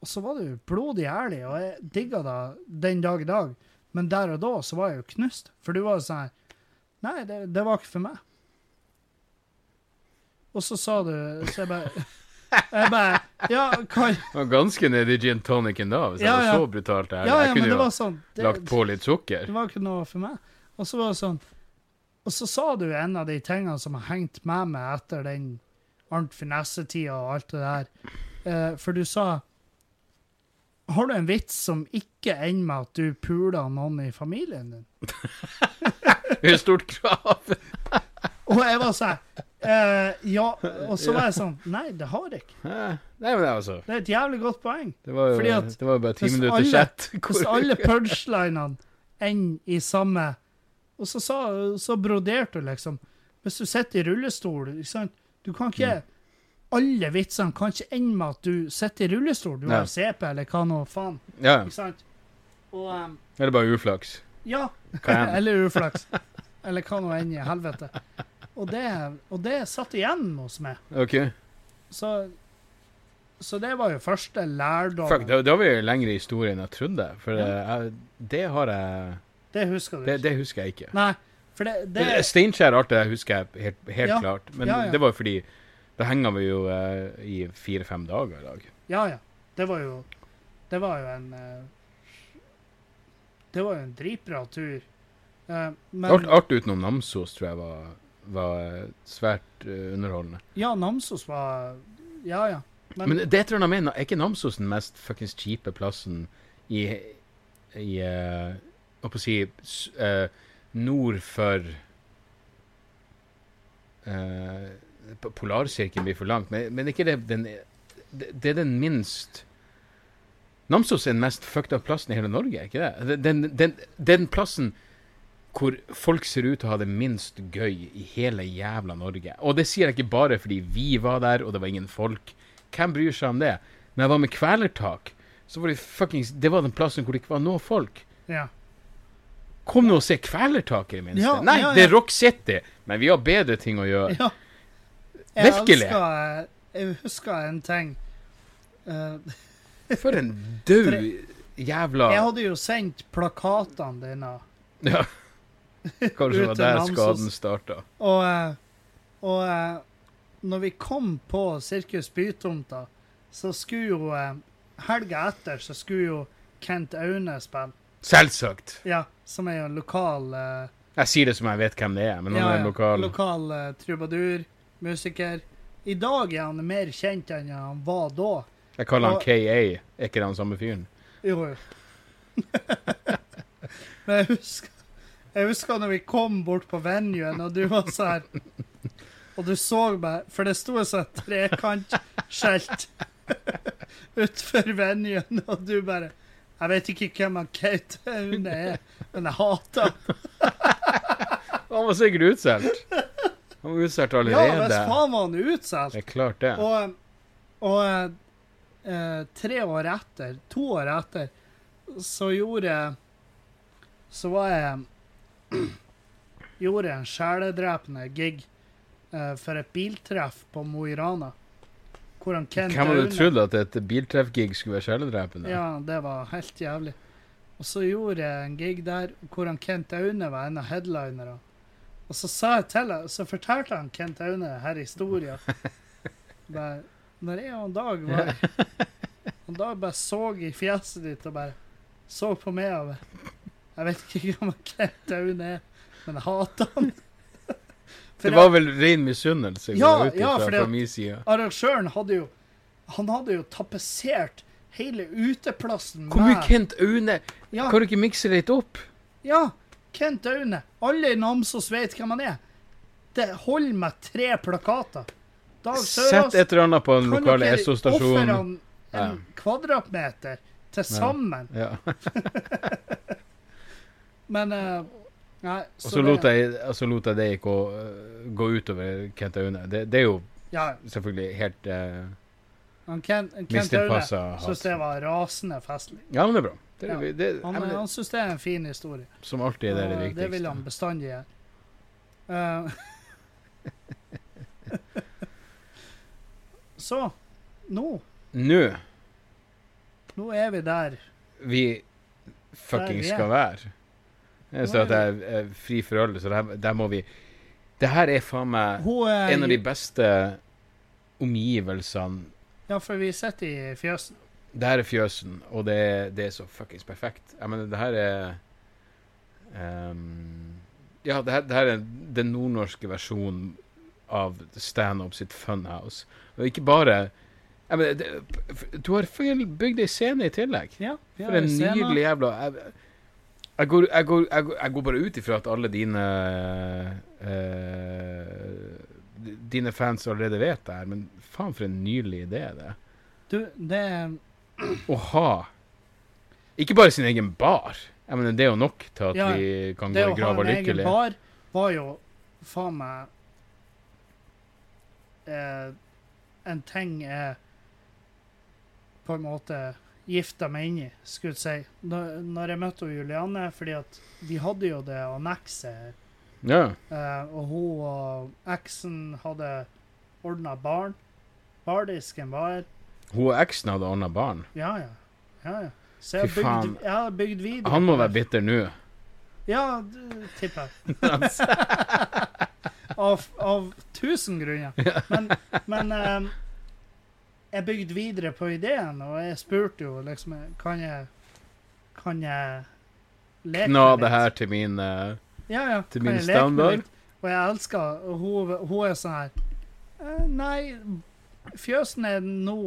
Speaker 1: Og så var du blodig ærlig, og jeg digga deg den dag i dag. Men der og da så var jeg jo knust, for du var jo sånn her Nei, det, det var ikke for meg. Og så sa du Så jeg bare Jeg bare Ja, hva
Speaker 2: Det var ganske nedi gin tonicen da, hvis
Speaker 1: Ja,
Speaker 2: jeg
Speaker 1: ja.
Speaker 2: var så brutalt ærlig.
Speaker 1: Ja, ja,
Speaker 2: jeg
Speaker 1: men
Speaker 2: kunne
Speaker 1: det
Speaker 2: jo
Speaker 1: var sånn det,
Speaker 2: lagt på litt sukker.
Speaker 1: Det var ikke noe for meg. Og så var det sånn Og så sa du en av de tingene som har hengt med meg etter den Arnt Finesse-tida og alt det der. Eh, for du sa Har du en vits som ikke ender med at du puler noen i familien din?
Speaker 2: Det er et stort krav.
Speaker 1: Og jeg var sånn eh, Ja. Og så var jeg sånn Nei, det har jeg ikke.
Speaker 2: Hæ? Nei, men altså
Speaker 1: Det er et jævlig godt poeng.
Speaker 2: Det var jo
Speaker 1: Fordi at
Speaker 2: det var jo bare ti
Speaker 1: hvis
Speaker 2: minutter
Speaker 1: alle-
Speaker 2: chat.
Speaker 1: Hvis alle punchlinene ender i samme Og så, sa, så broderte du, liksom. Hvis du sitter i rullestol, ikke sant Du kan
Speaker 2: Mm.
Speaker 1: ikke Alle vitsene kan ikke ende med at du sitter i rullestol. Du
Speaker 2: Nei.
Speaker 1: har CP eller hva nå faen.
Speaker 2: Ja.
Speaker 1: Ikke sant? Og em,
Speaker 2: Eller bare uflaks.
Speaker 1: Ja.
Speaker 2: Kan.
Speaker 1: Eller uflaks. Eller hva nå enn i helvete. Og det, og det satt igjen hos meg.
Speaker 2: OK.
Speaker 1: Så så det var jo første lærdom.
Speaker 2: Fuck, da, da var vi jo lengre i historie enn jeg trodde. For
Speaker 1: Ja.
Speaker 2: eh, jeg, det har jeg
Speaker 1: Det husker du
Speaker 2: Det,
Speaker 1: ikke.
Speaker 2: det husker jeg ikke.
Speaker 1: Nei, for det, det
Speaker 2: Steinkjer art det husker jeg helt, helt
Speaker 1: Ja.
Speaker 2: klart. Men
Speaker 1: Ja, ja.
Speaker 2: det var jo fordi da henger vi jo eh, i fire-fem dager i dag.
Speaker 1: Ja, ja. Det var jo Det var jo en eh, Det var jo en dritbra tur. Eh, men
Speaker 2: Alt, alt utenom Namsos tror jeg var, var eh, svært eh, underholdende.
Speaker 1: ja, Namsos var Ja, ja. Men,
Speaker 2: Men det tror jeg mener, er ikke Namsos den mest fuckings kjipe plassen i, i eh, Hva på å si s- eh, Nord for eh, P- Polarsirkelen blir for langt, men, men ikke det, den, det, det er den minst Namsos er den mest fucked up plassen i hele Norge, er ikke det? Den, den, den plassen hvor folk ser ut til å ha det minst gøy i hele jævla Norge. Og det sier jeg ikke bare fordi vi var der, og det var ingen folk. Hvem bryr seg om det? Når jeg var med Kvelertak, så var det fuckings Det var den plassen hvor det ikke var noe folk.
Speaker 1: Ja.
Speaker 2: Kom nå og se Kvelertak, i det minste.
Speaker 1: Ja,
Speaker 2: Nei,
Speaker 1: ja, ja.
Speaker 2: det er Rock City, men vi har bedre ting å gjøre.
Speaker 1: ja.
Speaker 2: Virkelig.
Speaker 1: elsker- eh, jeg husker en ting. Eh,
Speaker 2: For en død jævla
Speaker 1: jeg hadde jo sendt plakatene dine.
Speaker 2: Ja. Kanskje det var
Speaker 1: Uten
Speaker 2: der
Speaker 1: Namsos.
Speaker 2: skaden starta.
Speaker 1: Og, eh, og eh, når vi kom på Sirkus Bytomta, så skulle jo eh, Helga etter så skulle jo Kent Aune spille.
Speaker 2: Selvsagt.
Speaker 1: Ja, som er jo en lokal eh,
Speaker 2: Jeg sier det som jeg vet hvem det er, men han
Speaker 1: ja,
Speaker 2: er
Speaker 1: ja,
Speaker 2: lokal.
Speaker 1: lokal eh, trubadur, musiker. I dag er han mer kjent enn han var da.
Speaker 2: Jeg kaller han
Speaker 1: Og-
Speaker 2: KA. Er ikke det han samme fyren?
Speaker 1: Jo, jo. Men jeg husker, jeg husker når vi kom bort på venuen, og du var så her Og du så meg, for det sto et sånt trekantskilt utenfor venuen, og du bare Jeg vet ikke hvem han Kate Aune er, men jeg hater han.
Speaker 2: Han var sikkert utsolgt. Han var utsolgt
Speaker 1: Ja, hvis
Speaker 2: allerede.
Speaker 1: faen var han utsolgt.
Speaker 2: det er klart, det.
Speaker 1: Og, og eh, tre år etter, to år etter, så gjorde Så var jeg Gjorde en sjeledrepende gig eh, for et biltreff på Mo i Rana. Hvor han Kent
Speaker 2: Hvem hadde
Speaker 1: Aune-
Speaker 2: trodd at et biltreffgig skulle være sjeledrepende?
Speaker 1: Ja, det var helt jævlig. Og så gjorde jeg en gig der hvor han Kent Aune var en av headlinerne. Og så sa jeg til han, så fortalte han Kent Aune her historien. Bare, når jeg og han Dag var Han Dag bare så i fjeset ditt og bare så på meg og bare Jeg vet ikke hvem han Kent Aune er, men jeg hater han. For
Speaker 2: det var vel ren misunnelse går
Speaker 1: Ja,
Speaker 2: jeg ut
Speaker 1: ja,
Speaker 2: ifra,
Speaker 1: for det-
Speaker 2: fra min side.
Speaker 1: arrangøren hadde jo Han hadde jo tapetsert hele uteplassen
Speaker 2: Hvor mye Kent Aune
Speaker 1: ja,
Speaker 2: Kan du ikke mikse litt opp?
Speaker 1: Ja, Kent Aune. Alle i Namsos vet hvem han er. Det holder med tre plakater. Dag Sørås
Speaker 2: Sett et eller annet på den
Speaker 1: kan
Speaker 2: lokale
Speaker 1: dere ofre
Speaker 2: Esso-stasjonen.
Speaker 1: han en kvadratmeter til sammen.
Speaker 2: Ja.
Speaker 1: Men eh, Nei.
Speaker 2: Og så lot, jeg, og så lot jeg det ikke å, øh, gå utover Kent Aune. Det, det er jo
Speaker 1: Ja,
Speaker 2: selvfølgelig helt uh,
Speaker 1: han Kent, Kent Aune
Speaker 2: mistilpassa
Speaker 1: syns det var rasende festlig.
Speaker 2: Ja, men det er bra. Det,
Speaker 1: Ja.
Speaker 2: er- det,
Speaker 1: Han,
Speaker 2: jeg mener,
Speaker 1: han syns det er en fin historie.
Speaker 2: som alltid det er det
Speaker 1: Og
Speaker 2: viktigste.
Speaker 1: Det vil han bestandig gjøre. Eh, så nå
Speaker 2: Nå
Speaker 1: Nå er vi der.
Speaker 2: vi fucking
Speaker 1: Der vi er.
Speaker 2: skal være. Jeg sa at jeg er- er fri for alle, så der, der må vi Det her er faen meg
Speaker 1: Hun er
Speaker 2: en av de beste omgivelsene
Speaker 1: Ja, for vi sitter i fjøsen.
Speaker 2: Det her er fjøsen, og det, er- det er så fuckings perfekt. Jeg mener, det her er ehm, Ja, det her, det her er den nordnorske versjonen av standup sitt funhouse. Og ikke bare jeg mener, det, f- Du har fucking bygd ei scene i tillegg.
Speaker 1: Ja, vi
Speaker 2: For en nydelig jævla jeg, jeg, går, jeg, går, jeg, går, jeg går bare ut ifra at alle dine eh, Dine fans allerede vet det her, men faen for en nydelig idé det er
Speaker 1: Du, det er-
Speaker 2: å ha Ikke bare sin egen bar. Jeg mener, det er jo nok til at
Speaker 1: Ja,
Speaker 2: vi kan
Speaker 1: det
Speaker 2: gå i
Speaker 1: å ha
Speaker 2: grava
Speaker 1: en egen
Speaker 2: lykkelig.
Speaker 1: bar var jo faen meg eh, En ting jeg på en måte gifta meg inn i, skulle jeg si. Når, når jeg møtte Julianne, fordi at vi hadde jo det annekset her.
Speaker 2: Ja.
Speaker 1: Eh, og hun og eksen hadde ordna barn. Bardisken var her.
Speaker 2: Hun og eksen hadde ordna barn.
Speaker 1: Ja, ja. ja, ja. Så jeg
Speaker 2: Fy
Speaker 1: har
Speaker 2: faen.
Speaker 1: bygd, jeg har bygd videre.
Speaker 2: Han må
Speaker 1: på det.
Speaker 2: være bitter nå.
Speaker 1: Ja, d- tipper jeg. av, av tusen grunner. Men, men eh, jeg bygde videre på ideen, og jeg spurte jo liksom Kan jeg, kan jeg leke
Speaker 2: Kna
Speaker 1: litt?
Speaker 2: det her til min eh,
Speaker 1: Ja, ja.
Speaker 2: til
Speaker 1: kan
Speaker 2: min
Speaker 1: jeg leke med
Speaker 2: standard?
Speaker 1: litt? Og jeg elsker og hun, hun er sånn her eh, Nei, fjøsen er nå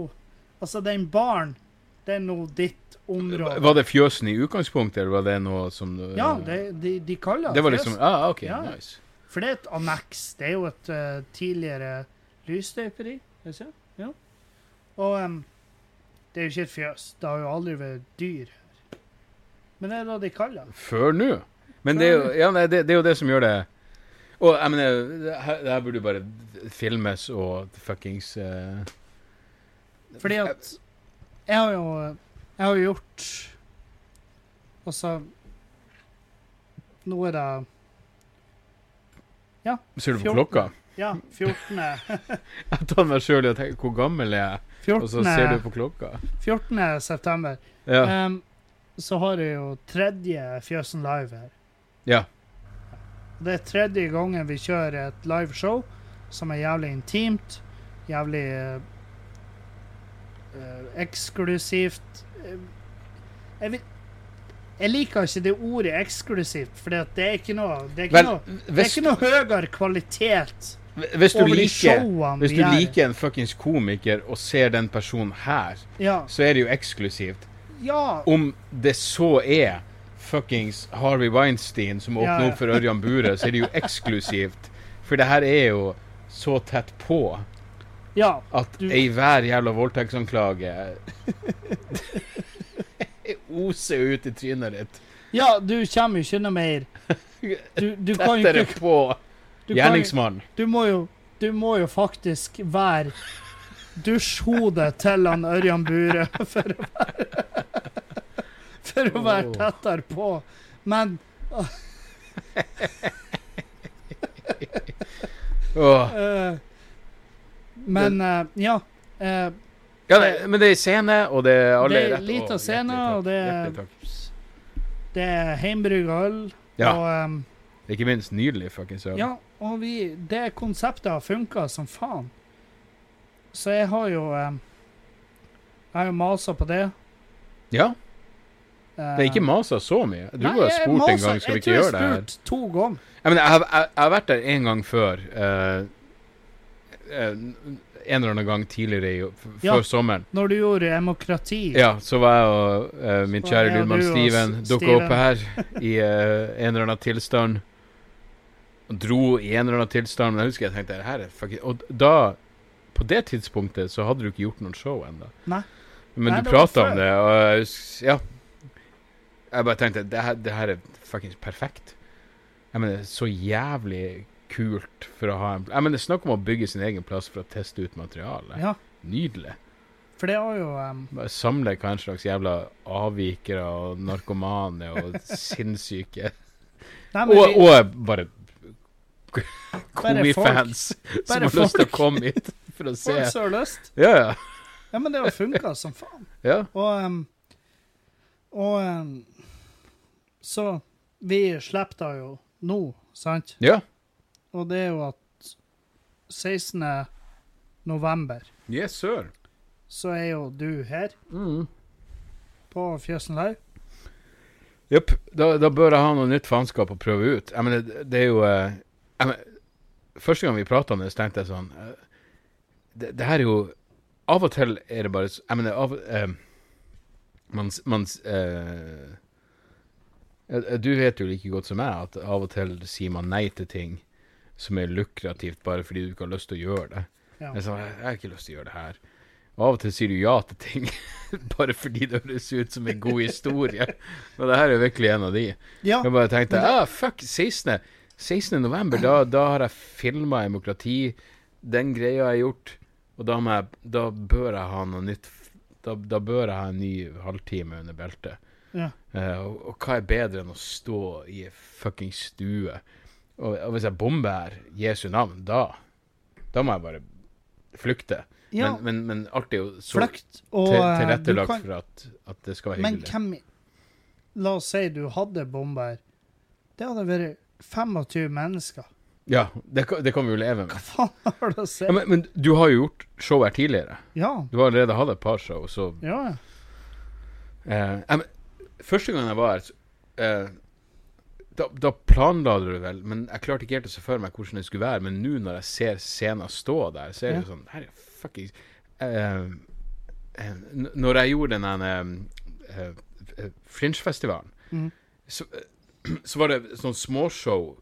Speaker 1: Altså, den baren, det er nå ditt område.
Speaker 2: Var det fjøsen i utgangspunktet, eller var det noe som
Speaker 1: Ja, det, de, de kaller
Speaker 2: Eh, det var liksom
Speaker 1: fjøsen.
Speaker 2: ah, OK,
Speaker 1: Ja.
Speaker 2: nice.
Speaker 1: For det er et anneks. Det er jo et eh, tidligere lysstøperi. er det så? Ja. Og em, det er jo ikke et fjøs. Det har jo aldri vært dyr her. Men det er da de kaller det.
Speaker 2: Før nå. Men det er, jo, ja, nei, det, det er jo det som gjør det Og jeg mener, det her, det her burde jo bare filmes og fuckings eh,
Speaker 1: Fordi at jeg har jo Jeg har jo gjort Altså Nå er det
Speaker 2: Ser du
Speaker 1: 14.
Speaker 2: på klokka?
Speaker 1: Ja, 14.
Speaker 2: Jeg tar meg sjøl i å tenke hvor gammel er jeg, og så ser
Speaker 1: 14.
Speaker 2: du på klokka.
Speaker 1: 14. september.
Speaker 2: Ja.
Speaker 1: Em, så har jeg jo tredje Fjøsen Live her.
Speaker 2: Ja.
Speaker 1: Det er tredje gangen vi kjører et liveshow som er jævlig intimt, jævlig eh, eh, eksklusivt. Eh, Jeg, vil, jeg liker ikke det ordet eksklusivt, for det er ikke noe Det er ikke,
Speaker 2: Vel,
Speaker 1: noe, det er
Speaker 2: hvis,
Speaker 1: ikke noe høyere kvalitet
Speaker 2: hvis du
Speaker 1: over de
Speaker 2: liker
Speaker 1: showene
Speaker 2: Hvis
Speaker 1: vi
Speaker 2: du
Speaker 1: gjør.
Speaker 2: liker en fuckings komiker og ser den personen her,
Speaker 1: Ja.
Speaker 2: så er det jo eksklusivt.
Speaker 1: ja
Speaker 2: Om det så er fuckings Harvey Weinstein som
Speaker 1: Ja,
Speaker 2: åpner
Speaker 1: ja.
Speaker 2: opp for Ørjan Bure, så er det jo eksklusivt. For det her er jo så tett på
Speaker 1: ja.
Speaker 2: at
Speaker 1: Du-
Speaker 2: ei hver jævla voldtektsanklage oser ut i trynet ditt.
Speaker 1: Ja, du kommer jo ikke noe mer. Du, du kan jo
Speaker 2: Tettere
Speaker 1: ikke
Speaker 2: på
Speaker 1: du kan jo-
Speaker 2: gjerningsmannen.
Speaker 1: Du må jo, du må jo faktisk være dusjhodet til han Ørjan Bure for å være For å være
Speaker 2: Åh.
Speaker 1: tettere på. Men
Speaker 2: Åh.
Speaker 1: eh, Men eh, ja. eh,
Speaker 2: Ja, nei, men det er scene, og det er alle
Speaker 1: Det er
Speaker 2: rett-
Speaker 1: lite
Speaker 2: Åh,
Speaker 1: scene,
Speaker 2: hjertelig takk,
Speaker 1: og det er-
Speaker 2: hjertelig takk.
Speaker 1: det er heimbrygga øl.
Speaker 2: Ja.
Speaker 1: Og, em,
Speaker 2: Ikke minst nydelig fuckings øl.
Speaker 1: ja, og vi, det konseptet har funka som faen. Så jeg har jo em, Jeg har jo masa på det.
Speaker 2: Ja, Det er
Speaker 1: Eh,
Speaker 2: ikke masa så mye. Du
Speaker 1: nei,
Speaker 2: har
Speaker 1: jeg
Speaker 2: spurt en
Speaker 1: maser-
Speaker 2: gang skal
Speaker 1: jeg
Speaker 2: vi ikke
Speaker 1: tror
Speaker 2: gjøre
Speaker 1: jeg
Speaker 2: det her.
Speaker 1: spurt To ganger.
Speaker 2: Jeg, mener, jeg, har- jeg, jeg har vært der en gang før. eh, eh, en eller annen gang tidligere i, f
Speaker 1: Ja.
Speaker 2: før sommeren.
Speaker 1: Når du gjorde demokrati?
Speaker 2: Ja, så var jeg og eh, min
Speaker 1: Så var
Speaker 2: kjære
Speaker 1: jeg og
Speaker 2: lydmann
Speaker 1: du og
Speaker 2: Steven
Speaker 1: S-
Speaker 2: dukka
Speaker 1: Steven.
Speaker 2: opp her i eh, en eller annen tilstand. Og dro i en eller annen tilstand. Men jeg husker jeg tenkte her er fucking Og da, på det tidspunktet, så hadde du ikke gjort noen show ennå.
Speaker 1: Nei.
Speaker 2: Men
Speaker 1: Nei, det
Speaker 2: du
Speaker 1: var
Speaker 2: prata
Speaker 1: før.
Speaker 2: om det, og jeg hus- Ja. Jeg bare tenkte det her, det her er fuckings perfekt. Jeg mener, så jævlig kult for å ha en pl- Jeg mener, snakk om å bygge sin egen plass for å teste ut materialet.
Speaker 1: Ja,
Speaker 2: Nydelig.
Speaker 1: for det var jo em,
Speaker 2: Bare samle hva en slags jævla avvikere og narkomane og sinnssyke.
Speaker 1: nei, men
Speaker 2: Og,
Speaker 1: vi,
Speaker 2: og bare komifans som
Speaker 1: Bare
Speaker 2: har lyst til å
Speaker 1: folk.
Speaker 2: komme hit for å se.
Speaker 1: folk som har lyst.
Speaker 2: Ja, ja.
Speaker 1: Ja, men det har funka som faen.
Speaker 2: ja.
Speaker 1: Og em, Og em, Så vi slipper det jo nå, sant?
Speaker 2: ja.
Speaker 1: Og det er jo at 16. november
Speaker 2: Yes, sir.
Speaker 1: så er jo du her
Speaker 2: Mm.
Speaker 1: på Fjøsen Live.
Speaker 2: Jepp. Da, da bør jeg ha noe nytt faenskap å prøve ut. Jeg mener, det- det er jo eh, jeg mener, Første gang vi prata om det, så tenkte jeg sånn eh, det, det her er jo Av og til er det bare s- Jeg mener, av eh, Man, s- man s- eh, eh, Du vet jo like godt som meg at av og til sier man nei til ting som er lukrativt bare fordi du ikke har lyst til å gjøre det.
Speaker 1: Ja.
Speaker 2: Jeg, sa, jeg har ikke lyst til å gjøre det her. Og av og til sier du ja til ting bare fordi det høres ut som en god historie. Men det her er virkelig en av de.
Speaker 1: ja.
Speaker 2: Jeg bare tenkte
Speaker 1: Men det-
Speaker 2: ah, fuck, 16. 16. november, da, da har jeg filma demokrati. Den greia jeg har gjort. Og da, må jeg, da bør jeg ha noe nytt f- Da, da bør jeg ha en ny halvtime under beltet.
Speaker 1: Ja.
Speaker 2: Eh, og, og hva er bedre enn å stå i ei fucking stue? Og, og hvis jeg bomber her, Jesu navn, da Da må jeg bare flykte.
Speaker 1: ja
Speaker 2: Men, men, men alt er jo så
Speaker 1: Flukt og
Speaker 2: til,
Speaker 1: eh, du
Speaker 2: tilrettelagt
Speaker 1: kan-
Speaker 2: for at, at det skal være
Speaker 1: Men
Speaker 2: hyggelig.
Speaker 1: hvem La oss si du hadde bomber. Det hadde vært 25 mennesker.
Speaker 2: Ja, det, kan- det kan vi jo leve med.
Speaker 1: Hva faen har det å si?
Speaker 2: Ja, men, men du har jo gjort show her tidligere.
Speaker 1: Ja.
Speaker 2: Du har allerede hatt et par show, så
Speaker 1: Ja, ja.
Speaker 2: eh, ja, men, Første gangen jeg var her, så, eh, da, da planla du det vel, men jeg klarte ikke helt å se for meg hvordan det skulle være. Men nå når jeg ser scenen stå der, så er det jo sånn Her er fucking eh, eh, n- Når jeg gjorde den eh, eh, eh, Fringe-festivalen,
Speaker 1: Mhm.
Speaker 2: så, eh, så var det sånn småshow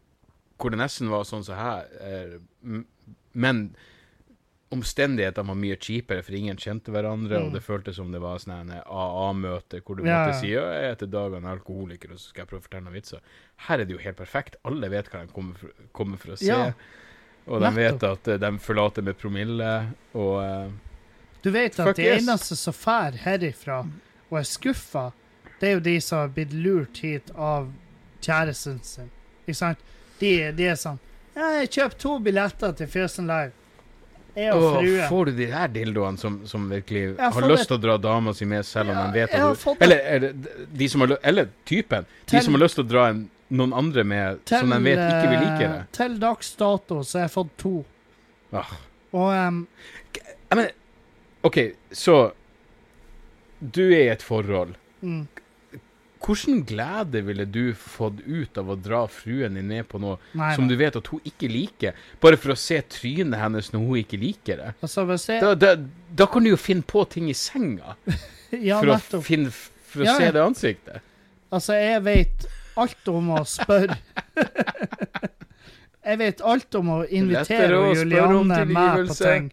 Speaker 2: hvor det nesten var sånn som her, eh, m- men omstendighetene var mye kjipere, for ingen kjente hverandre,
Speaker 1: Mm.
Speaker 2: og det føltes som det var sånn en AA-møte hvor du
Speaker 1: Ja, ja.
Speaker 2: måtte si «Ja, jeg heter Dag, jeg er en alkoholiker, og så skal jeg prøve å fortelle noen vitser. Her er det jo helt perfekt. Alle vet hva de kommer for, kommer for å se,
Speaker 1: Ja,
Speaker 2: og de
Speaker 1: nettopp.
Speaker 2: vet at eh, de forlater med promille, og eh,
Speaker 1: Du vet at
Speaker 2: Fuck
Speaker 1: de
Speaker 2: yes.
Speaker 1: eneste som fær herifra og er skuffa, det er jo de som har blitt lurt hit av kjæresten sin. Ikke sant? De, de er sånn ja, 'Jeg kjøper to billetter til Fjøsen Live.' Jeg og
Speaker 2: Åh,
Speaker 1: frue.
Speaker 2: får du de der dildoene som, som virkelig
Speaker 1: Ja,
Speaker 2: har
Speaker 1: for
Speaker 2: lyst til å dra dama si med, selv om
Speaker 1: Ja,
Speaker 2: de vet
Speaker 1: jeg har
Speaker 2: at
Speaker 1: fått
Speaker 2: du
Speaker 1: det.
Speaker 2: Eller, eller, de som har, lø- eller typen. De
Speaker 1: Tell-
Speaker 2: som har lyst til å dra en, noen andre med som de vet ikke vil like
Speaker 1: eh,
Speaker 2: det.
Speaker 1: Til dags dato så har jeg fått to.
Speaker 2: Ah.
Speaker 1: Og em,
Speaker 2: Jeg mener, OK, så Du er i et forhold.
Speaker 1: mm,
Speaker 2: Hvordan glede ville du fått ut av å dra fruen din med på noe
Speaker 1: Nei
Speaker 2: som
Speaker 1: da.
Speaker 2: du vet at hun ikke liker, bare for å se trynet hennes når hun ikke liker det?
Speaker 1: Altså, hvis jeg,
Speaker 2: Da, da, da kan du jo finne på ting i senga
Speaker 1: ja,
Speaker 2: for å,
Speaker 1: nettopp.
Speaker 2: finne, for å
Speaker 1: Ja, ja.
Speaker 2: se det ansiktet.
Speaker 1: Altså, jeg vet alt om å spørre Jeg vet alt om å
Speaker 2: Lettere
Speaker 1: invitere
Speaker 2: å spørre om
Speaker 1: Julianne med på
Speaker 2: tilgivelse.
Speaker 1: ting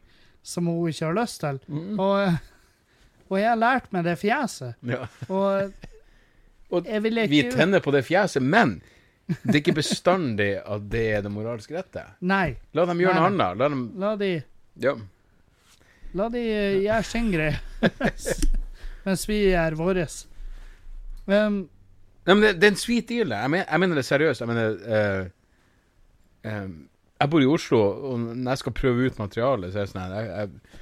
Speaker 1: som hun ikke har lyst til. Og, og jeg har lært meg det fjeset.
Speaker 2: Ja.
Speaker 1: Og
Speaker 2: Og
Speaker 1: jeg vil
Speaker 2: Vi
Speaker 1: ikke
Speaker 2: tenner på det fjeset, men det er ikke bestandig at det er det moralsk rette.
Speaker 1: Nei.
Speaker 2: La dem gjøre noe
Speaker 1: Nei.
Speaker 2: annet. La dem
Speaker 1: La de,
Speaker 2: Ja.
Speaker 1: la de eh, gjøre sin greie mens vi gjør vår. Men
Speaker 2: Nei, men det, det er en sweet deal. Jeg, men, jeg mener det seriøst. Jeg mener eh, eh, Jeg bor i Oslo, og når jeg skal prøve ut materialet, så er det sånn her jeg, jeg,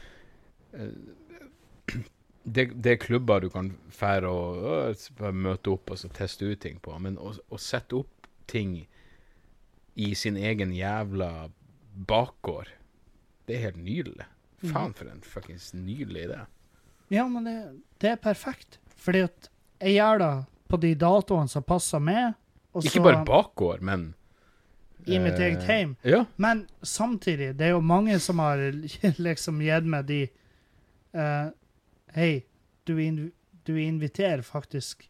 Speaker 2: eh, det, det er klubber du kan fære og øh, s- bare møte opp og så teste ut ting på, men å, å sette opp ting i sin egen jævla bakgård, det er helt nydelig.
Speaker 1: Mm.
Speaker 2: Faen, for en fuckings nydelig idé.
Speaker 1: Ja, men det, det er perfekt. Fordi at jeg gjør det på de datoene som passer meg. og så
Speaker 2: Ikke bare bakgård, men
Speaker 1: I mitt
Speaker 2: eh,
Speaker 1: eget heim.
Speaker 2: Ja.
Speaker 1: Men samtidig, det er jo mange som har liksom gitt meg de eh, Hei, du, inv du inviterer faktisk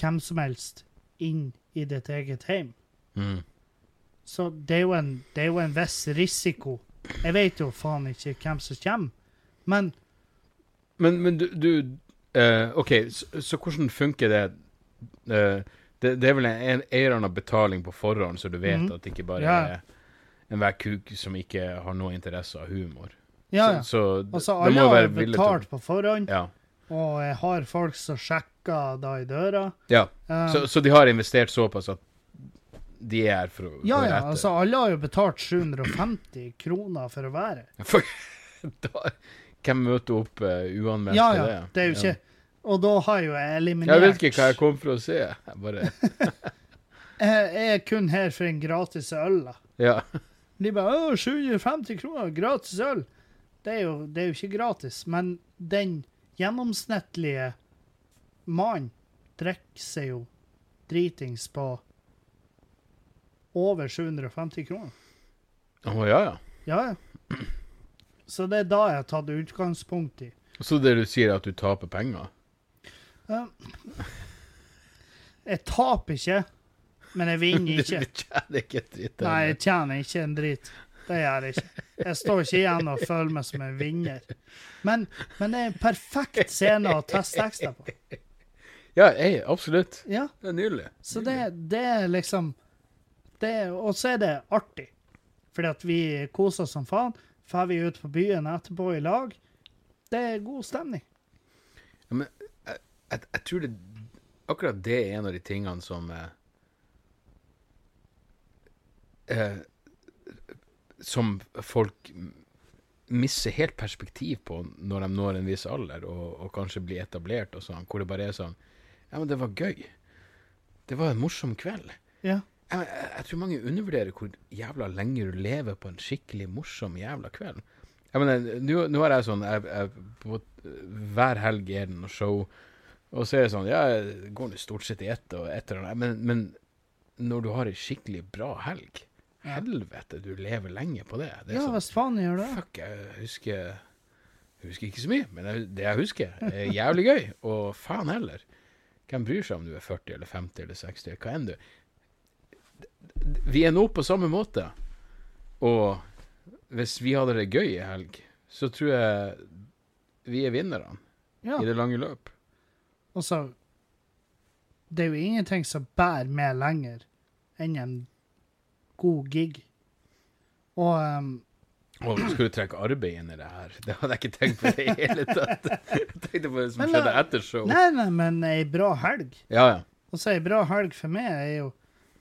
Speaker 1: hvem som helst inn i ditt eget heim.
Speaker 2: Mm.
Speaker 1: Så det er jo en, det er jo en viss risiko. Jeg vet jo faen ikke hvem som kommer, men
Speaker 2: Men, men du, du eh, OK, så, så hvordan funker det? Eh, det? Det er vel en, en eller annen betaling på forhånd, så du vet
Speaker 1: Mhm.
Speaker 2: at det ikke bare
Speaker 1: Ja.
Speaker 2: er enhver kuk som ikke har noe interesse av humor.
Speaker 1: ja, ja.
Speaker 2: Så, så d-
Speaker 1: Altså,
Speaker 2: det
Speaker 1: alle
Speaker 2: må
Speaker 1: har
Speaker 2: være villig til
Speaker 1: betalt på forhånd,
Speaker 2: ja.
Speaker 1: og jeg har folk som sjekker da i døra.
Speaker 2: ja.
Speaker 1: Eh,
Speaker 2: Så, så de har investert såpass at de er her for å
Speaker 1: ja,
Speaker 2: høre
Speaker 1: ja,
Speaker 2: etter?
Speaker 1: altså alle har jo betalt 750 kroner for å være her.
Speaker 2: Fuck. da, hvem møter opp eh, uanmeldt
Speaker 1: Ja,
Speaker 2: til
Speaker 1: ja, det er jo ikke Og da har jo jeg
Speaker 2: Ja.
Speaker 1: eliminert
Speaker 2: Jeg vet ikke hva jeg kom for å se. Jeg bare
Speaker 1: Jeg- jeg er kun her for en gratis øl, da.
Speaker 2: Ja.
Speaker 1: De bare Å, 750 kroner, gratis øl! Det er, jo, det er jo ikke gratis, men den gjennomsnittlige mannen drikker seg jo dritings på over 750 kroner.
Speaker 2: Å ja, ja.
Speaker 1: Ja, ja. Så det er da jeg har tatt utgangspunkt i.
Speaker 2: Så det du sier, er at du taper penger?
Speaker 1: Eh, Jeg taper ikke, men jeg vinner ikke.
Speaker 2: Du tjener ikke et dritt.
Speaker 1: Nei, jeg tjener ikke en drit. Det gjør jeg ikke. Jeg står ikke igjen og føler meg som en vinner. Men, men det er en perfekt scene å teste tekster på.
Speaker 2: Ja, ei, absolutt.
Speaker 1: Ja,
Speaker 2: Det er nydelig.
Speaker 1: Så det, det er liksom det, er- Og så er det artig. Fordi at vi koser oss som faen. Drar vi ut på byen etterpå i lag. Det er god stemning.
Speaker 2: Jeg, jeg tror det Akkurat det er en av de tingene som eh, eh, Som folk m- mister helt perspektiv på når de når en viss alder og, og kanskje blir etablert og sånn, hvor det bare er sånn Ja, men det var gøy. Det var en morsom kveld.
Speaker 1: Ja.
Speaker 2: Jeg, jeg, jeg tror mange undervurderer hvor jævla lenge du lever på en skikkelig morsom jævla kveld. Jeg mener, nå- Nå har jeg sånn jeg, jeg, på, Hver helg er det noe show, og så er det sånn Ja, jeg går nå stort sett i ett og et eller annet, men, men når du har ei skikkelig bra helg
Speaker 1: Ja.
Speaker 2: Helvete, du lever lenge på det. Det er
Speaker 1: Ja,
Speaker 2: sånn
Speaker 1: hvis faen gjør det.
Speaker 2: Fuck, jeg husker jeg husker ikke så mye, men jeg- det jeg husker, er jævlig gøy. Og faen heller. Hvem bryr seg om du er 40 eller 50 eller 60 eller hva enn du Vi er nå på samme måte. Og hvis vi hadde det gøy i helg, så tror jeg vi er vinnerne
Speaker 1: Ja.
Speaker 2: i det lange løp.
Speaker 1: Og så Det er jo ingenting som bærer med lenger enn en god gig. Og ehm,
Speaker 2: Og skal du trekke arbeid inn i det her? Det hadde jeg ikke tenkt på i det hele tatt. Jeg tenkte på det som
Speaker 1: Men,
Speaker 2: skjedde
Speaker 1: eh,
Speaker 2: etter show.
Speaker 1: Nei, nei, men ei bra helg.
Speaker 2: Ja, ja.
Speaker 1: Og så ei bra helg for meg er jo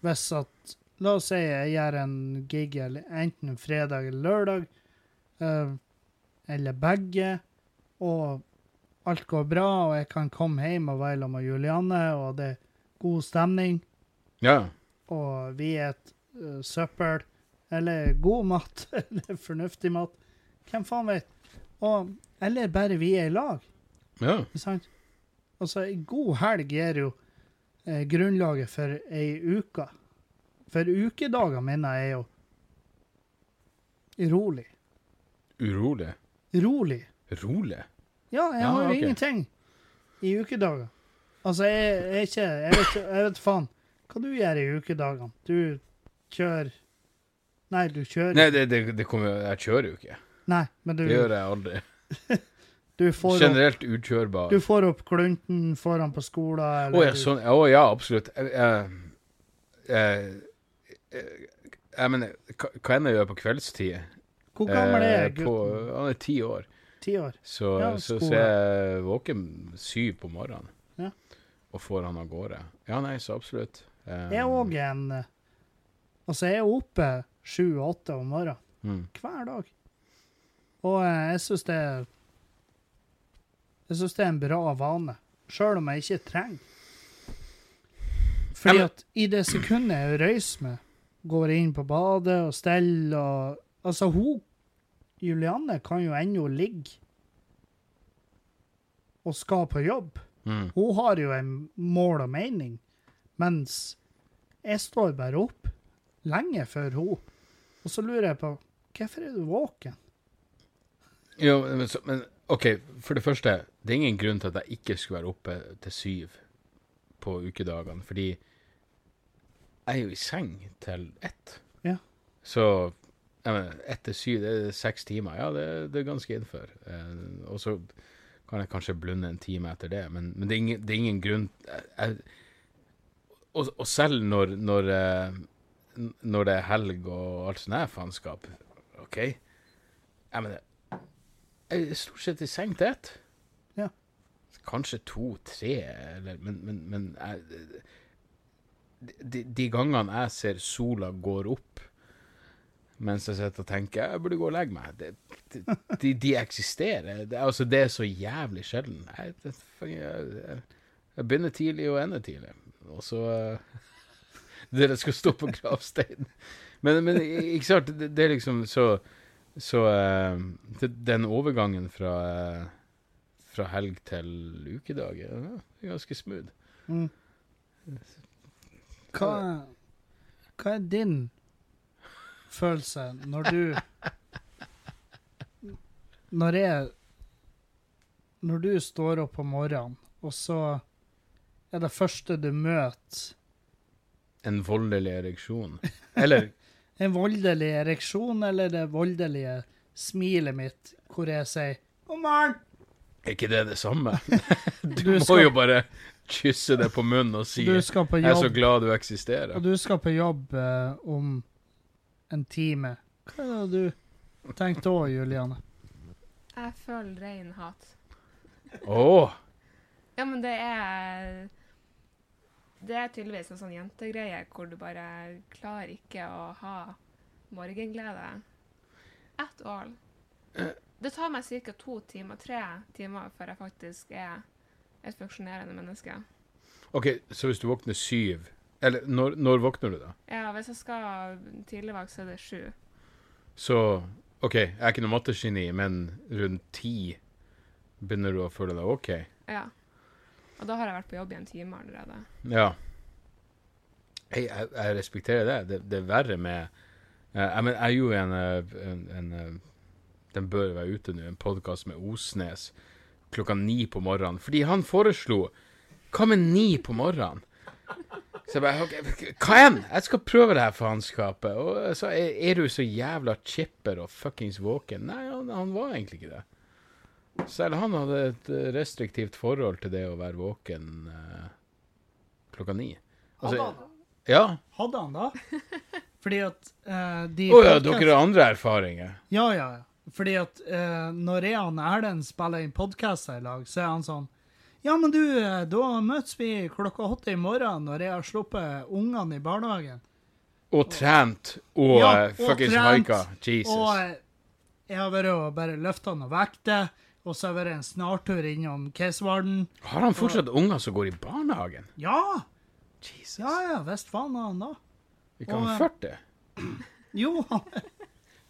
Speaker 1: hvis at La oss si jeg gjør en gig eller enten fredag eller lørdag, eh, eller begge, og alt går bra, og jeg kan komme hjem og være sammen med Julianne, og det er god stemning.
Speaker 2: ja.
Speaker 1: og vi et eh, søppel, eller god mat, eller fornuftig mat, hvem faen vet, og, eller bare vi er i lag,
Speaker 2: ja.
Speaker 1: ikke sant? Altså, en god helg gir jo eh, grunnlaget for ei uke. For ukedager, mener jeg, er jo rolig.
Speaker 2: Urolig.
Speaker 1: Rolig.
Speaker 2: Rolig?
Speaker 1: Ja, jeg
Speaker 2: Ja,
Speaker 1: har jo
Speaker 2: ok.
Speaker 1: ingenting i ukedager. Altså, jeg er ikke Jeg vet, jeg vet faen. Hva du gjør i ukedagene? Du kjører Nei, du kjører
Speaker 2: Nei, det, det, det kommer jo Jeg kjører jo ikke.
Speaker 1: Nei, men du,
Speaker 2: Det gjør jeg aldri.
Speaker 1: du, får, opp,
Speaker 2: Generelt ukjørbar.
Speaker 1: du får opp klunten foran på skolen.
Speaker 2: Å
Speaker 1: eller
Speaker 2: ja,
Speaker 1: du-
Speaker 2: sånn. Å ja, absolutt. Jeg, jeg, jeg, jeg, jeg mener, hva hva enn jeg gjør på kveldstid
Speaker 1: Hvor gammel er
Speaker 2: eh, på-
Speaker 1: gutten?
Speaker 2: Han er ti år.
Speaker 1: Ti år?
Speaker 2: Så,
Speaker 1: Ja,
Speaker 2: så, så
Speaker 1: skole.
Speaker 2: jeg våken syv på morgenen
Speaker 1: Ja.
Speaker 2: og får han av gårde. Ja, nei, så absolutt. Um,
Speaker 1: Jeg er òg en eh, Altså, jeg er oppe sju-åtte om morgenen
Speaker 2: Mm.
Speaker 1: hver dag. Og eh, jeg syns det er Jeg syns det er en bra vane, sjøl om jeg ikke trenger. Fordi
Speaker 2: Ja, men-
Speaker 1: at i det sekundet jeg røyser meg, går inn på badet og steller og Altså, hun Julianne kan jo ennå ligge og skal på jobb.
Speaker 2: Mm.
Speaker 1: Hun har jo en mål og mening, mens jeg står bare opp lenge før hun. Og så lurer jeg på, hvorfor er du våken?
Speaker 2: Jo, men, så, men OK, for det første, det er ingen grunn til at jeg ikke skulle være oppe til syv på ukedagene, fordi jeg er jo i seng til ett.
Speaker 1: Ja.
Speaker 2: Så jeg mener, ett til syv, det er seks timer. Ja, det, det er ganske innenfor. Eh, og så kan jeg kanskje blunde en time etter det, men, men det, er ingen, det er ingen grunn jeg, jeg, og, og selv når, når, eh, n- når det er helg og alt sånt her faenskap, OK? Jeg mener, jeg er stort sett i seng til ett.
Speaker 1: Ja.
Speaker 2: Kanskje to, tre, eller Men, men, men jeg, de, de gangene jeg ser sola går opp mens jeg sitter og tenker jeg burde gå og legge meg, det, det, de, de eksisterer. Det, er- altså, det er så jævlig sjelden. Jeg, det, jeg, jeg, jeg begynner tidlig og ender tidlig. Og så eh, Dere skal stå på gravsteinen. Men, men ikke sant, det, det er liksom så så eh, det- den overgangen fra, eh, fra helg til ukedag ja, det er ganske smooth.
Speaker 1: Mm. Hva, hva er din følelse når du Når jeg Når du står opp om morgenen, og så er det første du møter
Speaker 2: En voldelig ereksjon. Eller
Speaker 1: en voldelig ereksjon eller det voldelige smilet mitt, hvor jeg sier 'God morgen'.
Speaker 2: er ikke det det samme?
Speaker 1: Du,
Speaker 2: Du må
Speaker 1: skal,
Speaker 2: jo bare kysse det på munnen og si
Speaker 1: du skal på
Speaker 2: 'Jeg er så
Speaker 1: jobb,
Speaker 2: glad du
Speaker 1: og
Speaker 2: eksisterer'.
Speaker 1: du skal på jobb eh, om en time. Hva er det du tenkte òg, Juliane?
Speaker 3: Jeg føler rein hat.
Speaker 2: Åh,
Speaker 3: Ja, men det er Det er tydeligvis en sånn jentegreie hvor du bare klarer ikke å ha morgenglede. At all. Det tar meg ca. to timer, tre timer, før jeg faktisk er et funksjonerende menneske.
Speaker 2: OK, så hvis du våkner syv Eller når, når våkner du, da?
Speaker 3: Ja, hvis jeg skal tidligvakt, så er det sju.
Speaker 2: Så OK, jeg er ikke noe mattegeni, men rundt ti begynner du å føle deg OK?
Speaker 3: Ja. Og da har jeg vært på jobb i en time allerede.
Speaker 2: Ja. Jeg, jeg, jeg respekterer det. det. Det er verre med eh, Jeg mener, jeg gjorde en, eh, en, en eh, Den bør være ute nå, en podkast med Osnes klokka ni på morgenen. Fordi han foreslo Hva med ni på morgenen? Så jeg bare ok, Hva enn? Jeg skal prøve det her faenskapet. Og eh, så er, er du så jævla chipper og fuckings våken? Nei, han, han var egentlig ikke det. Selv han hadde et eh, restriktivt forhold til det å være våken eh, klokka ni. Altså,
Speaker 1: Hadde han, da?
Speaker 2: ja.
Speaker 1: hadde han da? Fordi at eh, de
Speaker 2: Å ja, dere har andre erfaringer.
Speaker 1: Ja, ja, ja. Fordi at eh, når jeg og Erlend spiller inn podkaster i lag, så er han sånn Ja, men du, eh, da møtes vi klokka åtte i morgen når jeg har sluppet ungene i barnehagen.
Speaker 2: Og trent og
Speaker 1: Ja,
Speaker 2: eh,
Speaker 1: og
Speaker 2: fuckings
Speaker 1: trent,
Speaker 2: haika. Jesus.
Speaker 1: Og eh, jeg har vært og bare løfta noen vekter, og så har jeg vært en snartur innom Kesvarden.
Speaker 2: Har han fortsatt unger som går i barnehagen?
Speaker 1: Ja!
Speaker 2: Jesus.
Speaker 1: Ja ja, visst faen har han da.
Speaker 2: Vi
Speaker 1: og,
Speaker 2: kan ha
Speaker 1: eh,
Speaker 2: 40.
Speaker 1: Jo, han,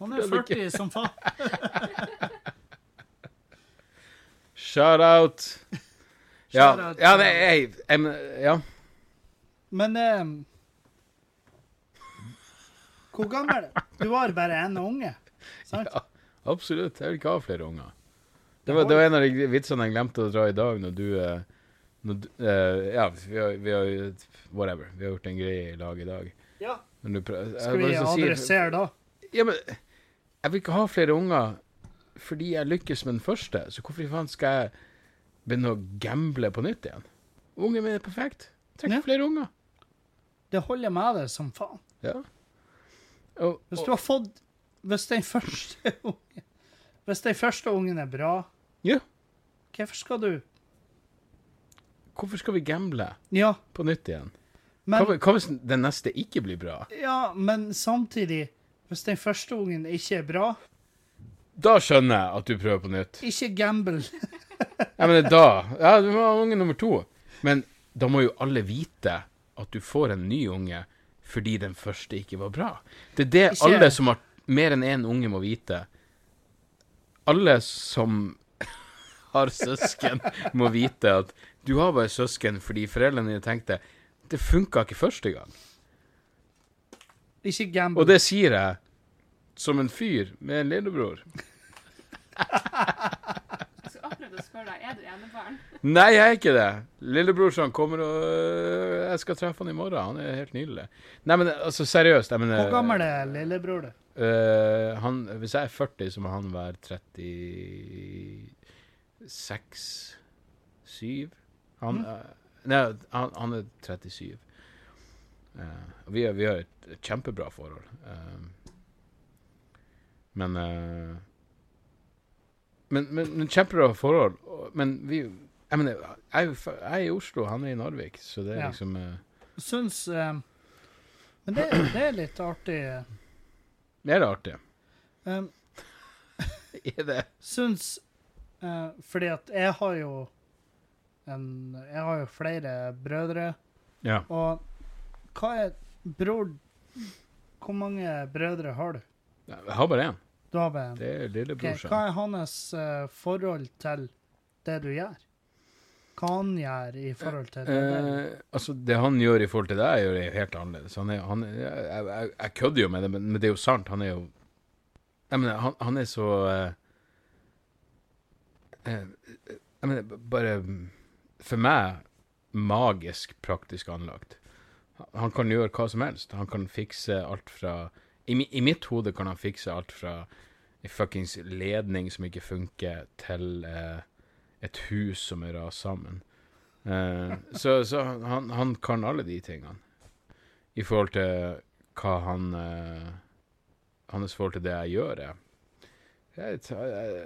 Speaker 1: han er
Speaker 2: Skal du
Speaker 1: 40 som faen.
Speaker 2: Shout out. Ja,
Speaker 1: Shout out
Speaker 2: ja,
Speaker 1: til-
Speaker 2: nei, jeg, jeg, men- ja.
Speaker 1: Men ehm, Hvor gammel er du? Du var bare en unge. Sant?
Speaker 2: Ja, absolutt. Jeg vil ikke ha flere unger. Det var, det var en av de vitsene jeg glemte å dra i dag, når du, eh, når du eh, Ja, vi har, vi har jo- Whatever. Vi har gjort en greie i lag i dag.
Speaker 1: Ja.
Speaker 2: Men du prøv, jeg
Speaker 1: Skal
Speaker 2: har
Speaker 1: vi
Speaker 2: lyst til å si-
Speaker 1: adressere da?
Speaker 2: Ja, men jeg vil ikke ha flere unger fordi jeg lykkes med den første. Så hvorfor i faen skal jeg begynne å gamble på nytt igjen? Ungen min er perfekt. Trenger
Speaker 1: Ja.
Speaker 2: ikke flere unger.
Speaker 1: Det holder med deg som faen.
Speaker 2: Ja. Og,
Speaker 1: Hvis
Speaker 2: og,
Speaker 1: du har fått Hvis den første ungen Hvis den første ungen er bra,
Speaker 2: Ja.
Speaker 1: hvorfor skal du
Speaker 2: hvorfor skal vi gamble
Speaker 1: Ja,
Speaker 2: på nytt igjen?
Speaker 1: men,
Speaker 2: hva, hva hvis den neste ikke blir bra?
Speaker 1: ja, men samtidig Hvis den første ungen ikke er bra,
Speaker 2: Da skjønner jeg at du prøver på nytt.
Speaker 1: ikke gamble.
Speaker 2: Jeg mener da. Ja, du må ha unge nummer to. Men da må jo alle vite at du får en ny unge fordi den første ikke var bra. Det er det
Speaker 1: Ikke-
Speaker 2: alle som har mer enn én unge må vite. Alle som har søsken, må vite at du har bare søsken fordi foreldrene dine tenkte det funka ikke første gang.
Speaker 1: Ikke
Speaker 2: Og
Speaker 1: gamble.
Speaker 2: det sier jeg som en fyr med en lillebror.
Speaker 3: Jeg skulle akkurat å spørre deg, er du enebarn?
Speaker 2: Nei, jeg er ikke det. Lillebrorsan kommer og øh, Jeg skal treffe han i morgen. Han er helt nydelig. Nei, men altså, seriøst. Jeg mener
Speaker 1: Hvor gammel er lillebror du?
Speaker 2: øh, han, hvis jeg er 40, så må han være 36 7 Han,
Speaker 1: Mm.
Speaker 2: øh, nei, han, han er 37. Eh, og vi, har- vi har et kjempebra forhold. Eh, men, eh, men Men men kjempebra forhold. og- Men vi Jeg mener, jeg er jo fra- jeg er i Oslo, han er i Narvik, så det er
Speaker 1: Ja.
Speaker 2: liksom eh,
Speaker 1: Syns eh, Men det, det er litt artig. eh.
Speaker 2: Det er artig.
Speaker 1: Eh,
Speaker 2: Er det?
Speaker 1: syns eh, Fordi at jeg har jo en, Jeg har jo flere brødre,
Speaker 2: Ja.
Speaker 1: og hva er Bror Hvor mange brødre har du?
Speaker 2: Jeg har bare én.
Speaker 1: Du har bare en.
Speaker 2: Det er
Speaker 1: Ok,
Speaker 2: lillebrorsan.
Speaker 1: Hva er hans eh, forhold til det du gjør? Hva han gjør i forhold til det? der?
Speaker 2: Eh, altså, det han gjør i forhold til deg, gjør jeg helt annerledes. Han er, han, er- jeg, jeg, jeg kødder jo med det, men, men det er jo sant. Han er jo Jeg mener, han, han er så eh, eh, Jeg mener, b- bare mm, For meg magisk praktisk anlagt. Han kan gjøre hva som helst. Han kan fikse alt fra I, mi- i mitt hode kan han fikse alt fra en fuckings ledning som ikke funker, til eh, et hus som er rast sammen. Eh, så så han, han kan alle de tingene. I forhold til hva han eh, Hans forhold til det jeg gjør, er jeg, tar- jeg,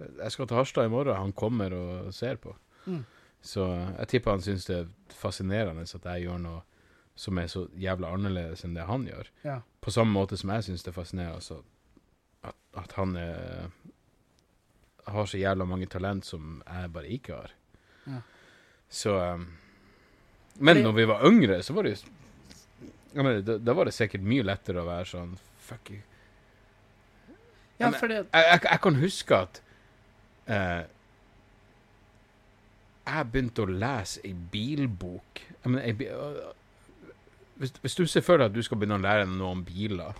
Speaker 2: jeg, jeg skal til Harstad i morgen. Han kommer og ser på.
Speaker 1: Mm.
Speaker 2: Så jeg tipper han syns det er fascinerende at jeg gjør noe som er så jævla annerledes enn det han gjør.
Speaker 1: Ja.
Speaker 2: På samme måte som jeg syns det er fascinerende altså, at, at han er, har så jævla mange talent som jeg bare ikke har.
Speaker 1: Ja.
Speaker 2: Så um, Men
Speaker 1: Fordi-
Speaker 2: når vi var yngre, så var det jo s- jeg mener, da, da var det sikkert mye lettere å være sånn Fuck you.
Speaker 1: ja,
Speaker 2: men-
Speaker 1: fordi at
Speaker 2: Jeg, jeg, jeg kan huske at eh, jeg begynte å lese ei bilbok. Jeg mener, ei, bi- øh, hvis, hvis du ser for deg at du skal begynne å lære deg noe om biler,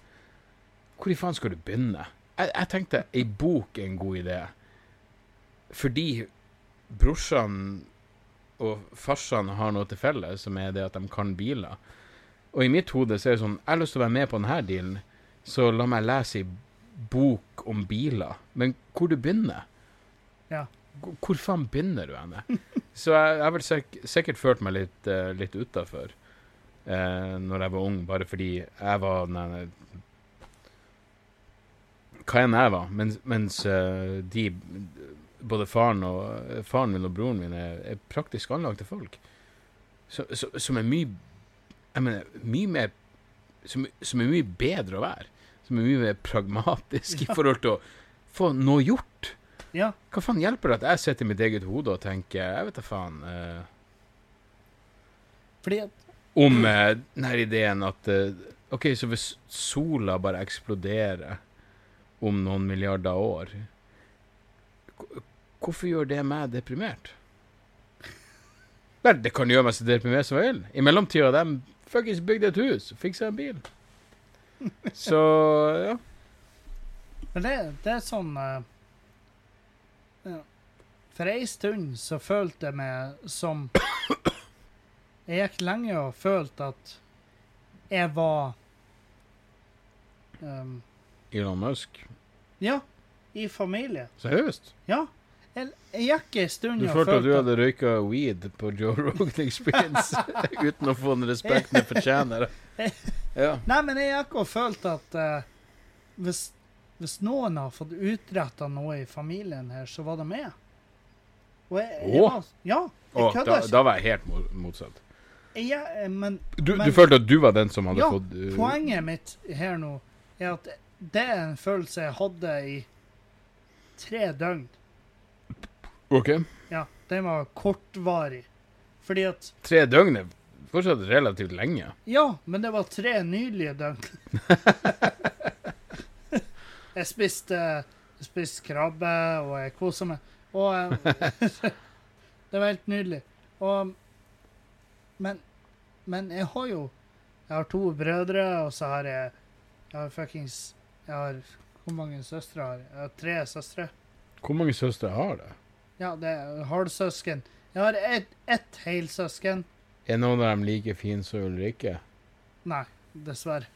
Speaker 2: hvor i faen skal du begynne? Jeg, jeg tenkte ei bok er en god idé. Fordi brorsan og farsene har noe til felles, som er det at de kan biler. Og i mitt hode så er det sånn Jeg har lyst til å være med på denne dealen, så la meg lese i bok om biler. Men hvor du begynner?
Speaker 1: Ja.
Speaker 2: Hvor- Hvor faen begynner du henne? Så jeg jeg har vel sik sikkert følt meg litt, uh, litt utafor uh, når jeg var ung, bare fordi jeg var den ene- Hva enn jeg var. Mens, mens eh, de Både faren, og, faren min og broren min er, er praktisk anlagte folk. Så, så, som er mye Jeg mener, mye mer som, som er mye bedre å være. Som er mye mer pragmatisk
Speaker 1: Ja.
Speaker 2: i forhold til å få noe gjort.
Speaker 1: Ja.
Speaker 2: Hva faen hjelper det at jeg sitter i mitt eget hode og tenker Jeg vet da faen eh,
Speaker 1: Fordi at
Speaker 2: Om eh, denne ideen at eh, OK, så hvis sola bare eksploderer om noen milliarder år k- Hvorfor gjør det meg deprimert? Vel, det kan gjøre meg så deprimert som jeg vil. I mellomtida har de fuckings bygd et hus og fiksa en bil. Så ja.
Speaker 1: Men det, det er sånn eh, ja. For ei stund så følte jeg meg som Jeg gikk lenge og følte at jeg var ehm,
Speaker 2: Elon Musk.
Speaker 1: Ja, i familie.
Speaker 2: Seriøst?
Speaker 1: Ja. Jeg, Mm, jeg gikk ei stund
Speaker 2: Du
Speaker 1: og
Speaker 2: følte at du
Speaker 1: følte
Speaker 2: hadde røyka weed på Joe Rogan Experience uten å få den respekten det fortjener? Ja.
Speaker 1: Nei, men jeg har ikke følt at eh, hvis, hvis noen har fått utretta noe i familien her, så var det meg. Og jeg, jeg
Speaker 2: Åh.
Speaker 1: var, ja,
Speaker 2: Å,
Speaker 1: jeg
Speaker 2: da,
Speaker 1: kødder ikke.
Speaker 2: da var jeg helt mo- motsatt.
Speaker 1: Jeg- jeg- Men
Speaker 2: Du,
Speaker 1: Men-
Speaker 2: du følte at du var den som hadde
Speaker 1: Ja,
Speaker 2: fått uh,
Speaker 1: poenget mitt her nå er at det er en følelse jeg hadde i tre døgn.
Speaker 2: OK.
Speaker 1: Ja, den var kortvarig. Fordi at
Speaker 2: Tre døgn er fortsatt relativt lenge.
Speaker 1: Ja, men det var tre nydelige døgn. jeg spiste, jeg spiste krabbe, og jeg kosa meg. Og eh, Det var helt nydelig. Og, men, men jeg har jo Jeg har to brødre, og så har jeg Jeg har fuckings Jeg har Hvor mange søstre har jeg? Jeg har tre søstre.
Speaker 2: Hvor mange søstre har det?
Speaker 1: Ja, det er halvsøsken. Jeg har ett et helsøsken.
Speaker 2: Er noen av dem like fine som Ulrikke?
Speaker 1: Nei, dessverre.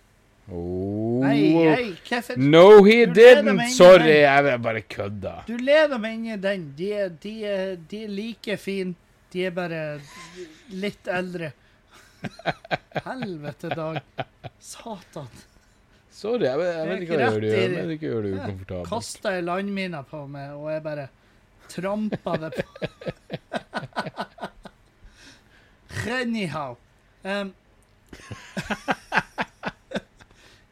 Speaker 2: Oh.
Speaker 1: Nei, jeg, hvorfor
Speaker 2: No, he
Speaker 1: Du leder meg inn
Speaker 2: didn't!
Speaker 1: i den.
Speaker 2: Sorry, jeg vil bare kødda.
Speaker 1: Du leder meg inn i den. De er, de er, de er like fine. De er bare litt eldre. Helvete, Dag. Satan.
Speaker 2: Sorry, jeg, vet- jeg vet
Speaker 1: Det
Speaker 2: ikke
Speaker 1: er
Speaker 2: hva jeg
Speaker 1: ikke
Speaker 2: gjør det. Jeg
Speaker 1: rett i-
Speaker 2: vet ikke hva jeg gjør det
Speaker 1: Ja,
Speaker 2: ukomfortabelt.
Speaker 1: Kasta ei landmine på meg, og jeg bare trampa det på. Anyhow. Um,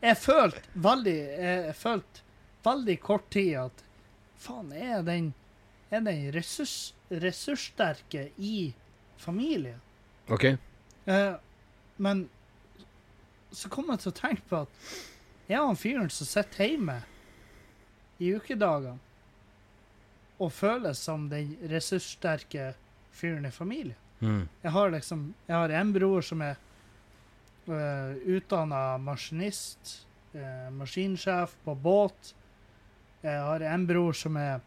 Speaker 1: jeg følte veldig eh, Jeg følte veldig kort tid at faen, er den, er den ressurs, ressurssterke i familien?
Speaker 2: OK.
Speaker 1: Eh, men så kom jeg til å tenke på at jeg er han fyren som sitter hjemme i ukedagene og føles som den ressurssterke fyren i familien.
Speaker 2: Mm.
Speaker 1: Jeg har liksom Jeg har en bror som er uh, utdanna maskinist, eh, maskinsjef på båt. Jeg har en bror som er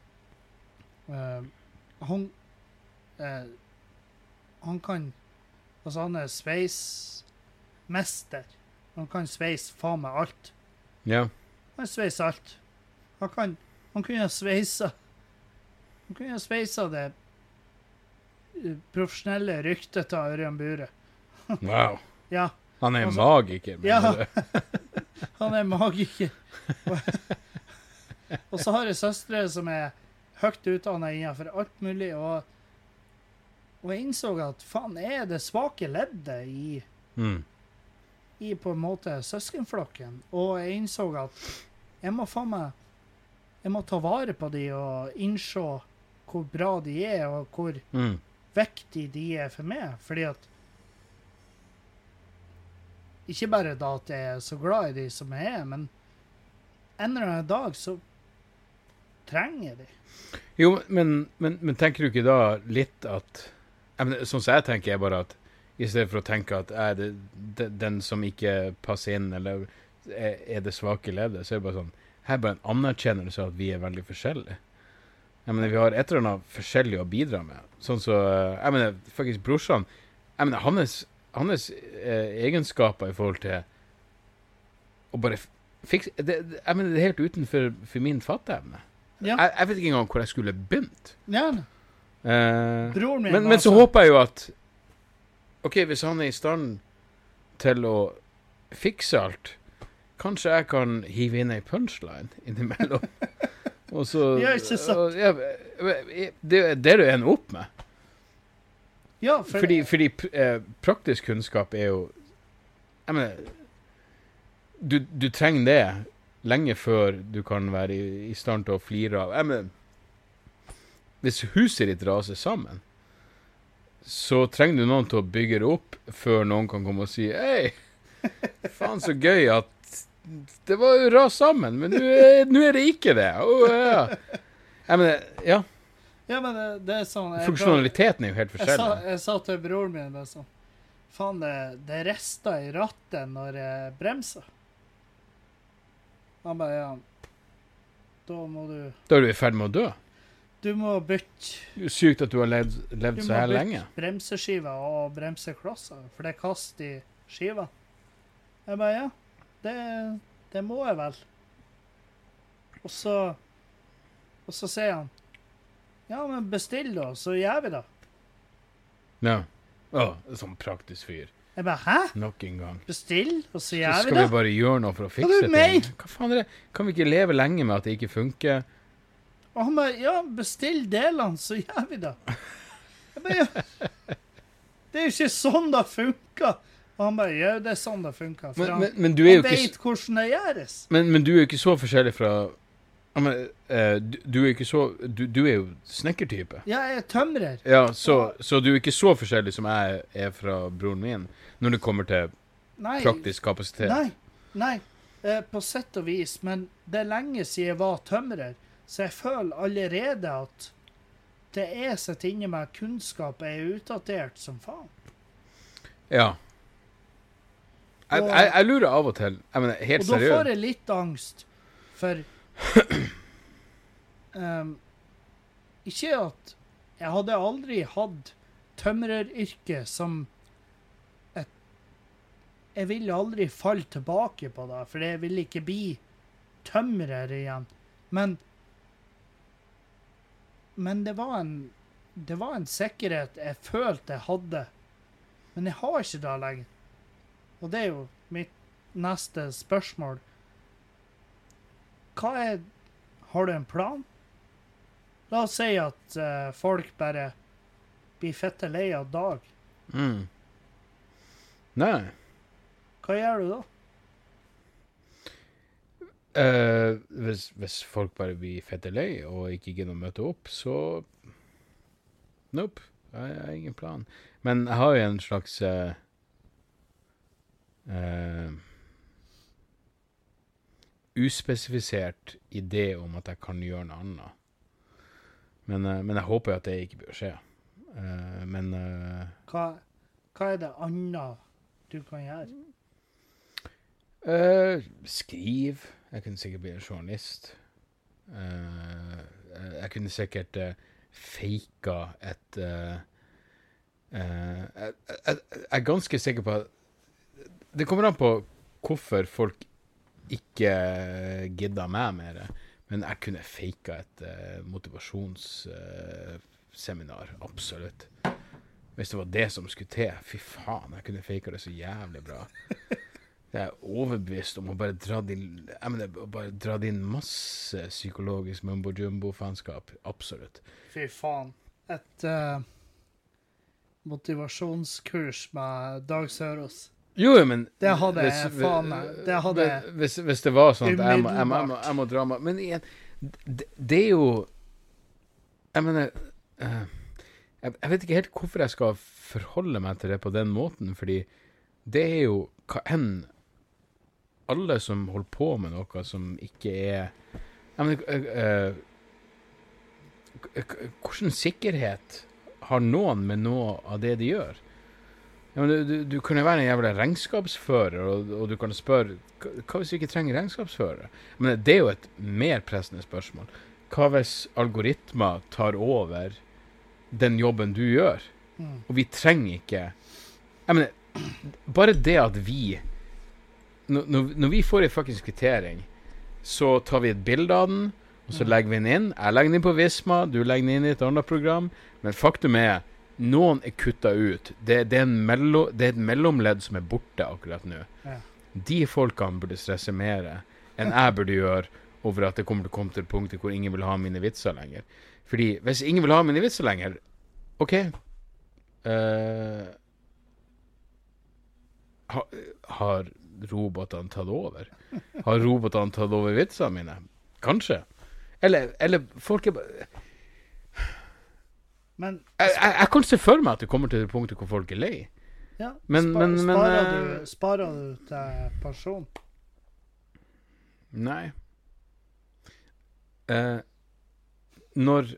Speaker 1: eh, Han eh, Han kan Altså, han er sveismester. Han kan sveise faen meg alt.
Speaker 2: Ja.
Speaker 1: Han sveiser alt. Han kan Han kunne ha sveisa Han kunne ha sveisa det eh, profesjonelle ryktet til Ørjan Bure.
Speaker 2: Wow.
Speaker 1: Ja.
Speaker 2: Han er en
Speaker 1: Altså-
Speaker 2: magiker. mener
Speaker 1: Ja.
Speaker 2: du?
Speaker 1: Han er magiker. Og, og så har jeg søstre som er høyt utdanna innenfor alt mulig, og, og jeg innså at faen, jeg er det svake leddet i,
Speaker 2: Mm.
Speaker 1: i på en måte søskenflokken. Og jeg innså at jeg må faen meg Jeg må ta vare på de og innse hvor bra de er, og hvor
Speaker 2: Mm.
Speaker 1: viktig de er for meg. Fordi at Ikke bare da at jeg er så glad i de som jeg er, men en eller annen dag så trenger jeg de.
Speaker 2: Jo, men, men, men tenker du ikke da litt at jeg mener, Sånn som jeg tenker, er bare at i stedet for å tenke at jeg er det, de- den som ikke passer inn, eller er, er det svake leddet, så er det bare sånn Her er bare en anerkjennelse av at vi er veldig forskjellige. Jeg mener, vi har et eller annet forskjellig å bidra med. Sånn så eh, Jeg mener, faktisk brorsan Jeg mener, hans, hans eh, egenskaper i forhold til å bare f- fikse det, det- Jeg mener, det er helt utenfor for min fatteevne.
Speaker 1: Ja.
Speaker 2: Jeg, jeg vet ikke engang hvor jeg skulle begynt.
Speaker 1: Ja, da.
Speaker 2: Eh,
Speaker 1: broren min
Speaker 2: men,
Speaker 1: var
Speaker 2: men så
Speaker 1: sånn.
Speaker 2: håper jeg jo at OK, hvis han er i stand til å fikse alt, kanskje jeg kan hive inn ei punchline innimellom. Og så
Speaker 1: Ja, ikke sant?
Speaker 2: og- ja, det, det er det du ender opp med.
Speaker 1: Ja, for,
Speaker 2: Fordi, fordi pr- eh, praktisk kunnskap er jo Jeg mener du, du trenger det lenge før du kan være i, i stand til å flire av Jeg mener Hvis huset ditt raser sammen, så trenger du noen til å bygge det opp før noen kan komme og si Hei, faen så gøy at det var jo ras sammen, men nå er, nå er det ikke det. Å, ja. Jeg mener, ja.
Speaker 1: ja, men det, det er sånn jeg-
Speaker 2: Funksjonaliteten er jo helt
Speaker 1: Jeg sa,
Speaker 2: forskjellig.
Speaker 1: jeg sa til broren min bare sånn Faen, det, det rister i rattet når jeg bremser. Han bare ja, Da må du
Speaker 2: Da er du i ferd med å dø.
Speaker 1: Du må bytte
Speaker 2: Det er jo Sykt at du har levd,
Speaker 1: du
Speaker 2: levd så
Speaker 1: må
Speaker 2: her
Speaker 1: bytte
Speaker 2: lenge.
Speaker 1: bremseskiver og bremseklosser, for det kaster i skiva. Jeg bare ja, det, det må jeg vel. Og så Og så sier han Ja, men bestill, da, så gjør vi det.
Speaker 2: Ja. Å, sånn praktisk fyr.
Speaker 1: Jeg bare hæ?
Speaker 2: Nok en gang.
Speaker 1: Bestill, og så
Speaker 2: Så
Speaker 1: gjør vi
Speaker 2: skal vi
Speaker 1: det?
Speaker 2: bare gjøre noe for å fikse
Speaker 1: du
Speaker 2: ting.
Speaker 1: mener?
Speaker 2: Hva faen er det? Kan vi ikke leve lenge med at det ikke funker?
Speaker 1: Og han bare Ja, bestill delene, så gjør vi det. Jeg bare, ja. Det er jo ikke sånn det funker. Og han bare Ja, det er sånn det funker. For
Speaker 2: Men,
Speaker 1: han,
Speaker 2: men, men du er jo
Speaker 1: han
Speaker 2: ikke,
Speaker 1: vet hvordan det gjøres.
Speaker 2: s- men, men du er jo ikke så forskjellig fra ja, men, eh, du, du er jo ikke så Du, du er jo snekkertype.
Speaker 1: Ja, jeg er tømrer.
Speaker 2: Ja, så, så du er ikke så forskjellig som jeg er fra broren min når det kommer til
Speaker 1: Nei.
Speaker 2: praktisk kapasitet.
Speaker 1: Nei. nei. Eh, på sett og vis, men det er lenge siden jeg var tømrer, så jeg føler allerede at det jeg sitter inne med kunnskap, er utdatert som faen.
Speaker 2: Ja. Jeg,
Speaker 1: Og-
Speaker 2: jeg, jeg lurer av og til Jeg mener, helt
Speaker 1: Og da
Speaker 2: seriøst.
Speaker 1: får jeg litt angst for Ehm, Ikke at Jeg hadde aldri hatt tømreryrket som et Jeg ville aldri falle tilbake på det, for jeg ville ikke bli tømrer igjen. Men Men det var en det var en sikkerhet jeg følte jeg hadde, men jeg har ikke det lenger. Og det er jo mitt neste spørsmål. Hva er Har du en plan? La oss si at eh, folk bare blir fette lei av Dag.
Speaker 2: Mm. Nei.
Speaker 1: Hva gjør du da?
Speaker 2: Eh, hvis, hvis folk bare blir fette lei og ikke gidder å møte opp, så Nope. Jeg jeg har ingen plan. Men jeg har jo en slags eh, eh, Uspesifisert idé om at jeg kan gjøre noe annet. Men, eh, men jeg håper jo at det ikke bør skje. Eh, men eh,
Speaker 1: Hva, hva er det annet du kan gjøre?
Speaker 2: Eh, skriv. Jeg kunne sikkert bli en journalist. Eh, eh, jeg kunne sikkert uh, faka et eh, eh, jeg, jeg, jeg er ganske sikker på at Det kommer an på hvorfor folk ikke gidda meg mer. Men jeg kunne faka et eh, motivasjonsseminar. absolutt. Hvis det var det som skulle til. Fy faen, jeg kunne faka det så jævlig bra. Jeg er overbevist om å bare dra inn, jeg mener, å bare dra inn masse psykologisk mumbo-jumbo-fanskap. Absolutt.
Speaker 1: Fy faen. Et eh, motivasjonskurs med Dag Sørås.
Speaker 2: Jo, jo, men
Speaker 1: Det hadde jeg,
Speaker 2: hvis-
Speaker 1: faen meg. Det hadde jeg.
Speaker 2: hvis- Hvis, hvis det var sånn at jeg må, jeg må, jeg må,
Speaker 1: Umiddelbart.
Speaker 2: jeg må dra meg Men igjen, det, det er jo Jeg mener eh, jeg, jeg vet ikke helt hvorfor jeg skal forholde meg til det på den måten, fordi det er jo hva enn Alle som holder på med noe som ikke er Jeg mener eh, eh, k- k- Hvordan sikkerhet har noen med noe av det de gjør? Ja, men du, du, du kunne være en jævla regnskapsfører, og, og du kan spørre "Hva- Hva hvis vi ikke trenger regnskapsfører? Men det er jo et mer pressende spørsmål. Hva hvis algoritmer tar over den jobben du gjør?
Speaker 1: Mm.
Speaker 2: Og vi trenger ikke Jeg mener, bare det at vi Når, når- når vi får en fuckings kvittering, så tar vi et bilde av den, og så
Speaker 1: Mm.
Speaker 2: legger vi den inn. Jeg legger den inn på Visma, du legger den inn i et annet program. Men faktum er noen er kutta ut. Det, det, er en mello, det er et mellomledd som er borte akkurat nå.
Speaker 1: Ja.
Speaker 2: De folkene burde stresse mer enn jeg burde gjøre over at det kommer til å komme til punktet hvor ingen vil ha mine vitser lenger. Fordi hvis ingen vil ha mine vitser lenger, OK eh, ha, Har robotene tatt over? Har robotene tatt over vitsene mine? Kanskje. Eller, eller folk er bare
Speaker 1: Men,
Speaker 2: jeg, jeg, jeg kan se for meg at det kommer til det punktet hvor folk er lei.
Speaker 1: ja,
Speaker 2: Men-
Speaker 1: spa-
Speaker 2: men- men,
Speaker 1: sparer,
Speaker 2: eh,
Speaker 1: du, sparer du til pensjon?
Speaker 2: Nei. Eh, når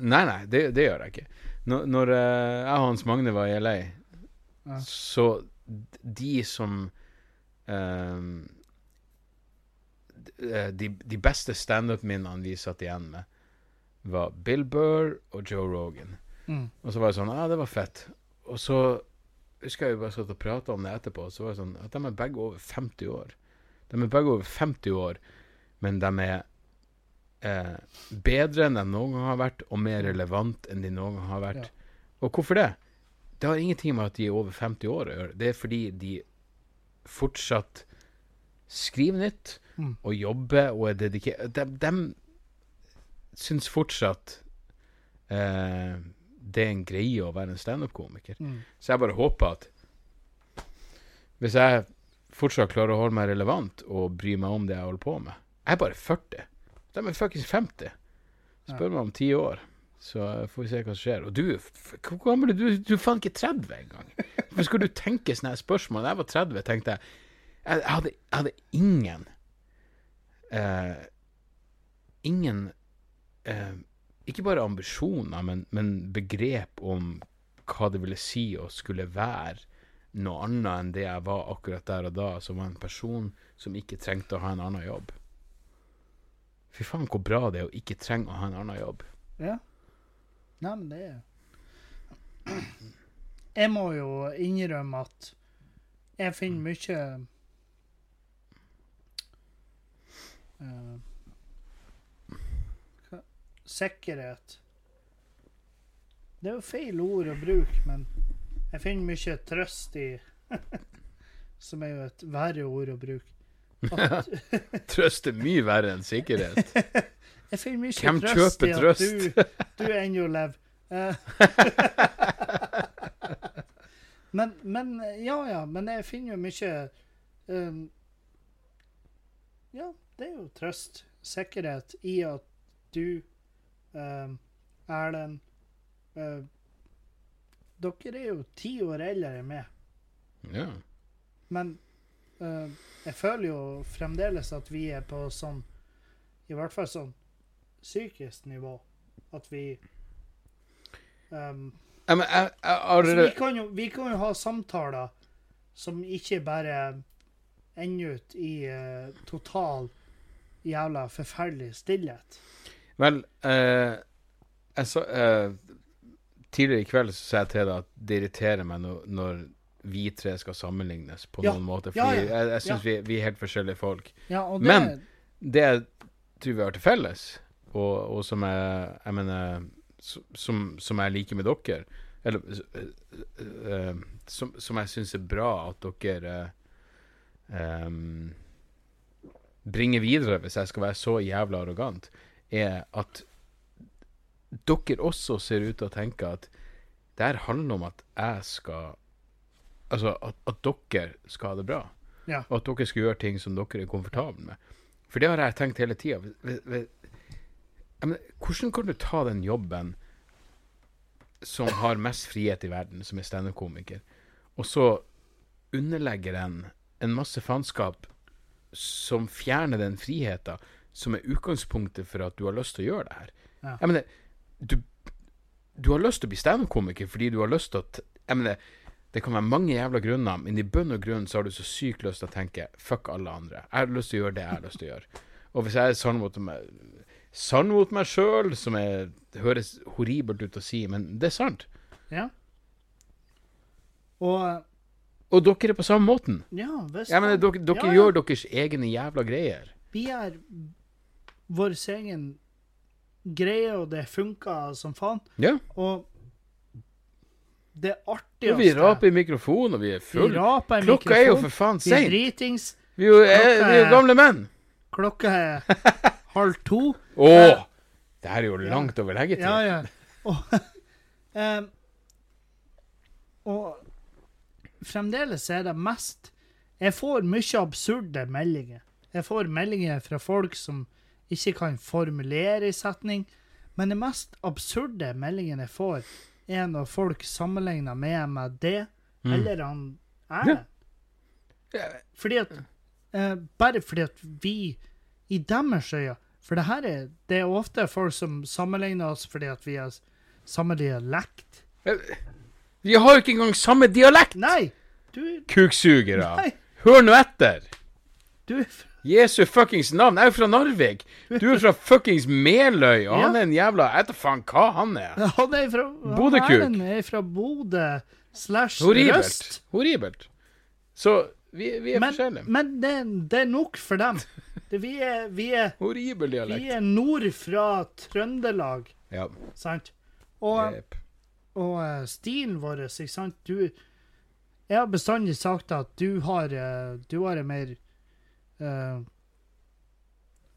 Speaker 2: Nei, nei, det, det gjør jeg ikke. Når, når eh, jeg og Hans Magne var i LA,
Speaker 1: Ja.
Speaker 2: så d- de som eh, d- eh, de, de beste standup-minnene vi satt igjen med, var Bill Burr og Joe Rogan.
Speaker 1: Mm.
Speaker 2: Og så var jeg sånn Ja, ah, det var fett. Og så husker jeg vi bare satt og prata om det etterpå, og så var det sånn at de er begge over 50 år. De er begge over 50 år, men de er eh, bedre enn de noen gang har vært, og mer relevant enn de noen gang har vært. Og hvorfor det? Det har ingenting med at de er over 50 år å gjøre. Det er fordi de fortsatt skriver nytt
Speaker 1: Mm.
Speaker 2: og jobber og er dedikert De, de syns fortsatt eh, det er en greie å være en standup-komiker.
Speaker 1: Mm.
Speaker 2: Så jeg bare håper at hvis jeg fortsatt klarer å holde meg relevant og bry meg om det jeg holder på med Jeg er bare 40. De er fuckings 50. Spør meg om ti år, så får vi se hva som skjer. Og du, f- hvor gammel er du? Du er faen ikke 30 engang. Hvorfor skal du tenke sånne her spørsmål? Da jeg var 30, tenkte jeg Jeg, jeg, hadde, jeg hadde ingen eh, Ingen eh, Ikke bare ambisjoner, men, men begrep om hva det ville si å skulle være noe annet enn det jeg var akkurat der og da, som var en person som ikke trengte å ha en annen jobb. Fy faen, hvor bra det er å ikke trenge å ha en annen jobb.
Speaker 1: Ja. Nei, men det er Jeg må jo innrømme at jeg finner mye eh, hva- Sikkerhet Det er jo feil ord å bruke, men jeg finner mye trøst i Som er jo et verre ord å bruke. At,
Speaker 2: Trøst er mye verre enn sikkerhet.
Speaker 1: jeg finner mye
Speaker 2: Hvem
Speaker 1: trøst i
Speaker 2: kjøper
Speaker 1: at
Speaker 2: trøst?
Speaker 1: Du, du ennå lever. Eh. men, men Ja, ja. Men jeg finner jo mye um, Ja, det er jo trøst, sikkerhet, i at du, um, Erlend eh, Dere er jo ti år eldre enn meg.
Speaker 2: Ja.
Speaker 1: Men eh, jeg føler jo fremdeles at vi er på sånn I hvert fall sånn psykisk nivå. At vi ehm,
Speaker 2: Nei, Men jeg, jeg,
Speaker 1: altså, vi,
Speaker 2: allerede-
Speaker 1: kan jo, vi kan jo ha samtaler som ikke bare ender ut i eh, total jævla forferdelig stillhet.
Speaker 2: Vel, eh, jeg sa eh, Tidligere i kveld så sa jeg til deg at det irriterer meg når, når vi tre skal sammenlignes på
Speaker 1: Ja.
Speaker 2: noen måte. Fordi
Speaker 1: Ja, ja.
Speaker 2: jeg, jeg syns
Speaker 1: Ja.
Speaker 2: vi, vi er helt forskjellige folk.
Speaker 1: Ja, og det,
Speaker 2: Men- det jeg tror vi har til felles, og, og som jeg, jeg mener s- som, som jeg liker med dere Eller s- eh, eh, som, som jeg syns er bra at dere eh, em, bringer videre, hvis jeg skal være så jævla arrogant, er at dere også ser ut til å tenke at det her handler om at jeg skal Altså at, at dere skal ha det bra,
Speaker 1: Ja.
Speaker 2: og at dere skal gjøre ting som dere er komfortable med. For det har jeg tenkt hele tida. Hvordan kan du ta den jobben som har mest frihet i verden, som er standup-komiker, og så underlegge den en masse faenskap som fjerner den friheten som er utgangspunktet for at du har lyst til å gjøre det her?
Speaker 1: Ja.
Speaker 2: Jeg mener, du, du har lyst til å bli standup-komiker fordi du har lyst til å t- Jeg mener, det kan være mange jævla grunner, men i bunn og grunn så har du så sykt lyst til å tenke 'fuck alle andre'. Jeg har lyst til å gjøre det jeg har lyst til å gjøre. Og hvis jeg er sånn mot meg sann mot meg sjøl, som er, det høres horribelt ut å si, men det er sant.
Speaker 1: Ja. Og
Speaker 2: Og dere er på samme måten.
Speaker 1: ja, hvis
Speaker 2: Jeg mener,
Speaker 1: man-
Speaker 2: dere, dere
Speaker 1: Ja, ja.
Speaker 2: gjør deres egne jævla greier.
Speaker 1: Vi er vår egen greie, og det funker som faen.
Speaker 2: Ja.
Speaker 1: Og det artigste
Speaker 2: Og vi raper i mikrofonen, og vi er
Speaker 1: Vi
Speaker 2: fulle.
Speaker 1: raper i
Speaker 2: Klokka er jo for
Speaker 1: mikrofon.
Speaker 2: faen
Speaker 1: Vi er
Speaker 2: sein.
Speaker 1: dritings.
Speaker 2: Vi er jo, er, vi er
Speaker 1: Klokka
Speaker 2: jo
Speaker 1: er-
Speaker 2: gamle menn.
Speaker 1: Klokka er halv to.
Speaker 2: Å!
Speaker 1: Ja.
Speaker 2: Det her er jo langt over leggetid.
Speaker 1: Ja, ja. Og, eh, em, og fremdeles er det mest Jeg får mye absurde meldinger. Jeg får meldinger fra folk som ikke kan formulere en setning. Men det mest absurde meldingen jeg får, er når folk sammenligner meg med det
Speaker 2: Mm.
Speaker 1: eller han
Speaker 2: Ja.
Speaker 1: Erlend. Fordi at eh, Bare fordi at vi i deres øyne For det her er Det er ofte folk som sammenligner oss fordi at vi har s- samme dialekt.
Speaker 2: Eh, Vi har jo ikke engang samme dialekt!
Speaker 1: Nei! Du
Speaker 2: Kuksugere.
Speaker 1: Nei!
Speaker 2: Hør nå etter!
Speaker 1: Du er fra-
Speaker 2: Jesu fuckings navn. Jeg er jo fra Narvik. Du er fra fuckings Meløy, og
Speaker 1: Ja.
Speaker 2: han er en jævla Jeg vet da faen hva han er.
Speaker 1: Han er fra han
Speaker 2: Bodøkuk.
Speaker 1: Erlend er fra Bodø slash
Speaker 2: Horribelt.
Speaker 1: Røst.
Speaker 2: Horribelt. Så vi, vi er
Speaker 1: Men,
Speaker 2: forskjellige.
Speaker 1: men det, det er nok for dem. Det, vi, er, vi, er,
Speaker 2: Horribel
Speaker 1: vi
Speaker 2: dialekt.
Speaker 1: er nord fra Trøndelag,
Speaker 2: Ja.
Speaker 1: sant? Og
Speaker 2: Jep.
Speaker 1: og eh, stilen vår, ikke sant? Du, jeg har bestandig sagt at du har, eh, du har en mer eh,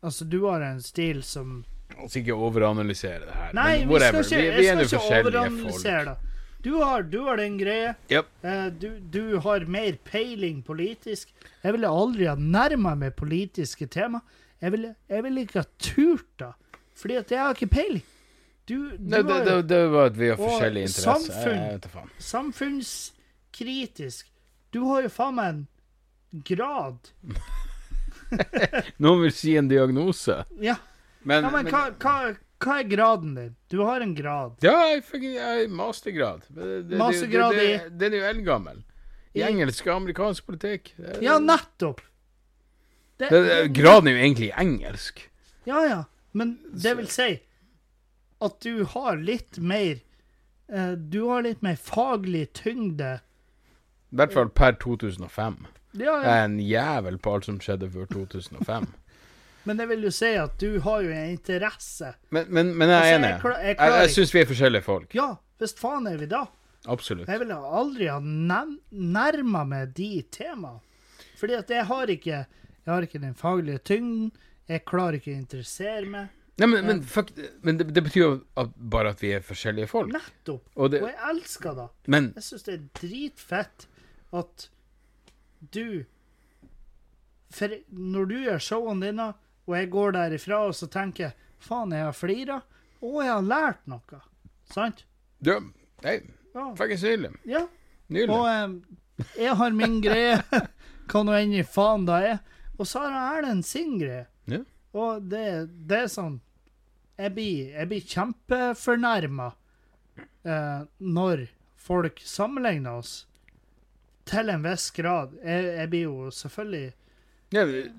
Speaker 1: Altså, du har en stil som
Speaker 2: La oss ikke overanalysere det her.
Speaker 1: Nei,
Speaker 2: men
Speaker 1: vi skal
Speaker 2: whatever.
Speaker 1: ikke,
Speaker 2: vi, vi er
Speaker 1: jeg
Speaker 2: nå
Speaker 1: skal ikke
Speaker 2: forskjellige
Speaker 1: overanalysere
Speaker 2: folk.
Speaker 1: det. Du har, du har den greia.
Speaker 2: Jep.
Speaker 1: Eh, du, du har mer peiling politisk. Jeg ville aldri ha nærma meg politiske tema. Jeg ville, jeg ville ikke ha turt det. Fordi at jeg har ikke peiling. Du, du
Speaker 2: Nei, det,
Speaker 1: har
Speaker 2: det, det var at vi har
Speaker 1: Og
Speaker 2: forskjellige interesser. Jeg,
Speaker 1: samfunn.
Speaker 2: jeg vet da faen.
Speaker 1: samfunnskritisk. Du har jo faen meg en grad.
Speaker 2: Noen vil si en diagnose.
Speaker 1: Ja,
Speaker 2: Men,
Speaker 1: ja men hva, hva, hva er graden din? Du har en grad.
Speaker 2: Ja, jeg fikk jeg, mastergrad. Det, det- det,
Speaker 1: Mastergrad
Speaker 2: det,
Speaker 1: i-
Speaker 2: det, Den er jo eldgammel. I
Speaker 1: I-
Speaker 2: engelsk og amerikansk politikk. Det-
Speaker 1: Ja, nettopp! Det-
Speaker 2: Eh, det, det, graden er jo egentlig i engelsk.
Speaker 1: Ja, ja. Men det vil si at du har litt mer eh, Du har litt mer faglig tyngde.
Speaker 2: I hvert fall per 2005.
Speaker 1: Ja, ja.
Speaker 2: Jeg er en jævel på alt som skjedde før 2005.
Speaker 1: Men det vil jo si at du har jo en interesse.
Speaker 2: Men, men, men jeg er
Speaker 1: Altså,
Speaker 2: enig.
Speaker 1: jeg klar- jeg
Speaker 2: Jeg, jeg
Speaker 1: klarer-
Speaker 2: syns vi er forskjellige folk.
Speaker 1: Ja, visst faen er vi da.
Speaker 2: Absolutt.
Speaker 1: Jeg ville aldri ha nærma meg de temaene. Fordi at jeg har ikke Jeg har ikke den faglige tyngden. Jeg klarer ikke å interessere meg.
Speaker 2: Nei, men, men, fuck, men det, det betyr jo at, bare at vi er forskjellige folk.
Speaker 1: Nettopp.
Speaker 2: Og det,
Speaker 1: Og jeg elsker det.
Speaker 2: men
Speaker 1: Jeg syns det er dritfett at du For når du gjør showene dine, og jeg går derifra og så tenker jeg, faen, jeg har flira, og jeg har lært noe. Sant?
Speaker 2: du, Nei,
Speaker 1: Ja.
Speaker 2: fuckings nydelig.
Speaker 1: ja.
Speaker 2: Nydelig.
Speaker 1: Og eh, jeg har min greie, hva nå enn i faen det er. Og så har Erlend sin greie.
Speaker 2: Ja.
Speaker 1: Og det, det er sånn Jeg blir, jeg blir kjempefornærma eh, når folk sammenligner oss til en viss grad. Jeg, jeg blir jo selvfølgelig
Speaker 2: Ja, jeg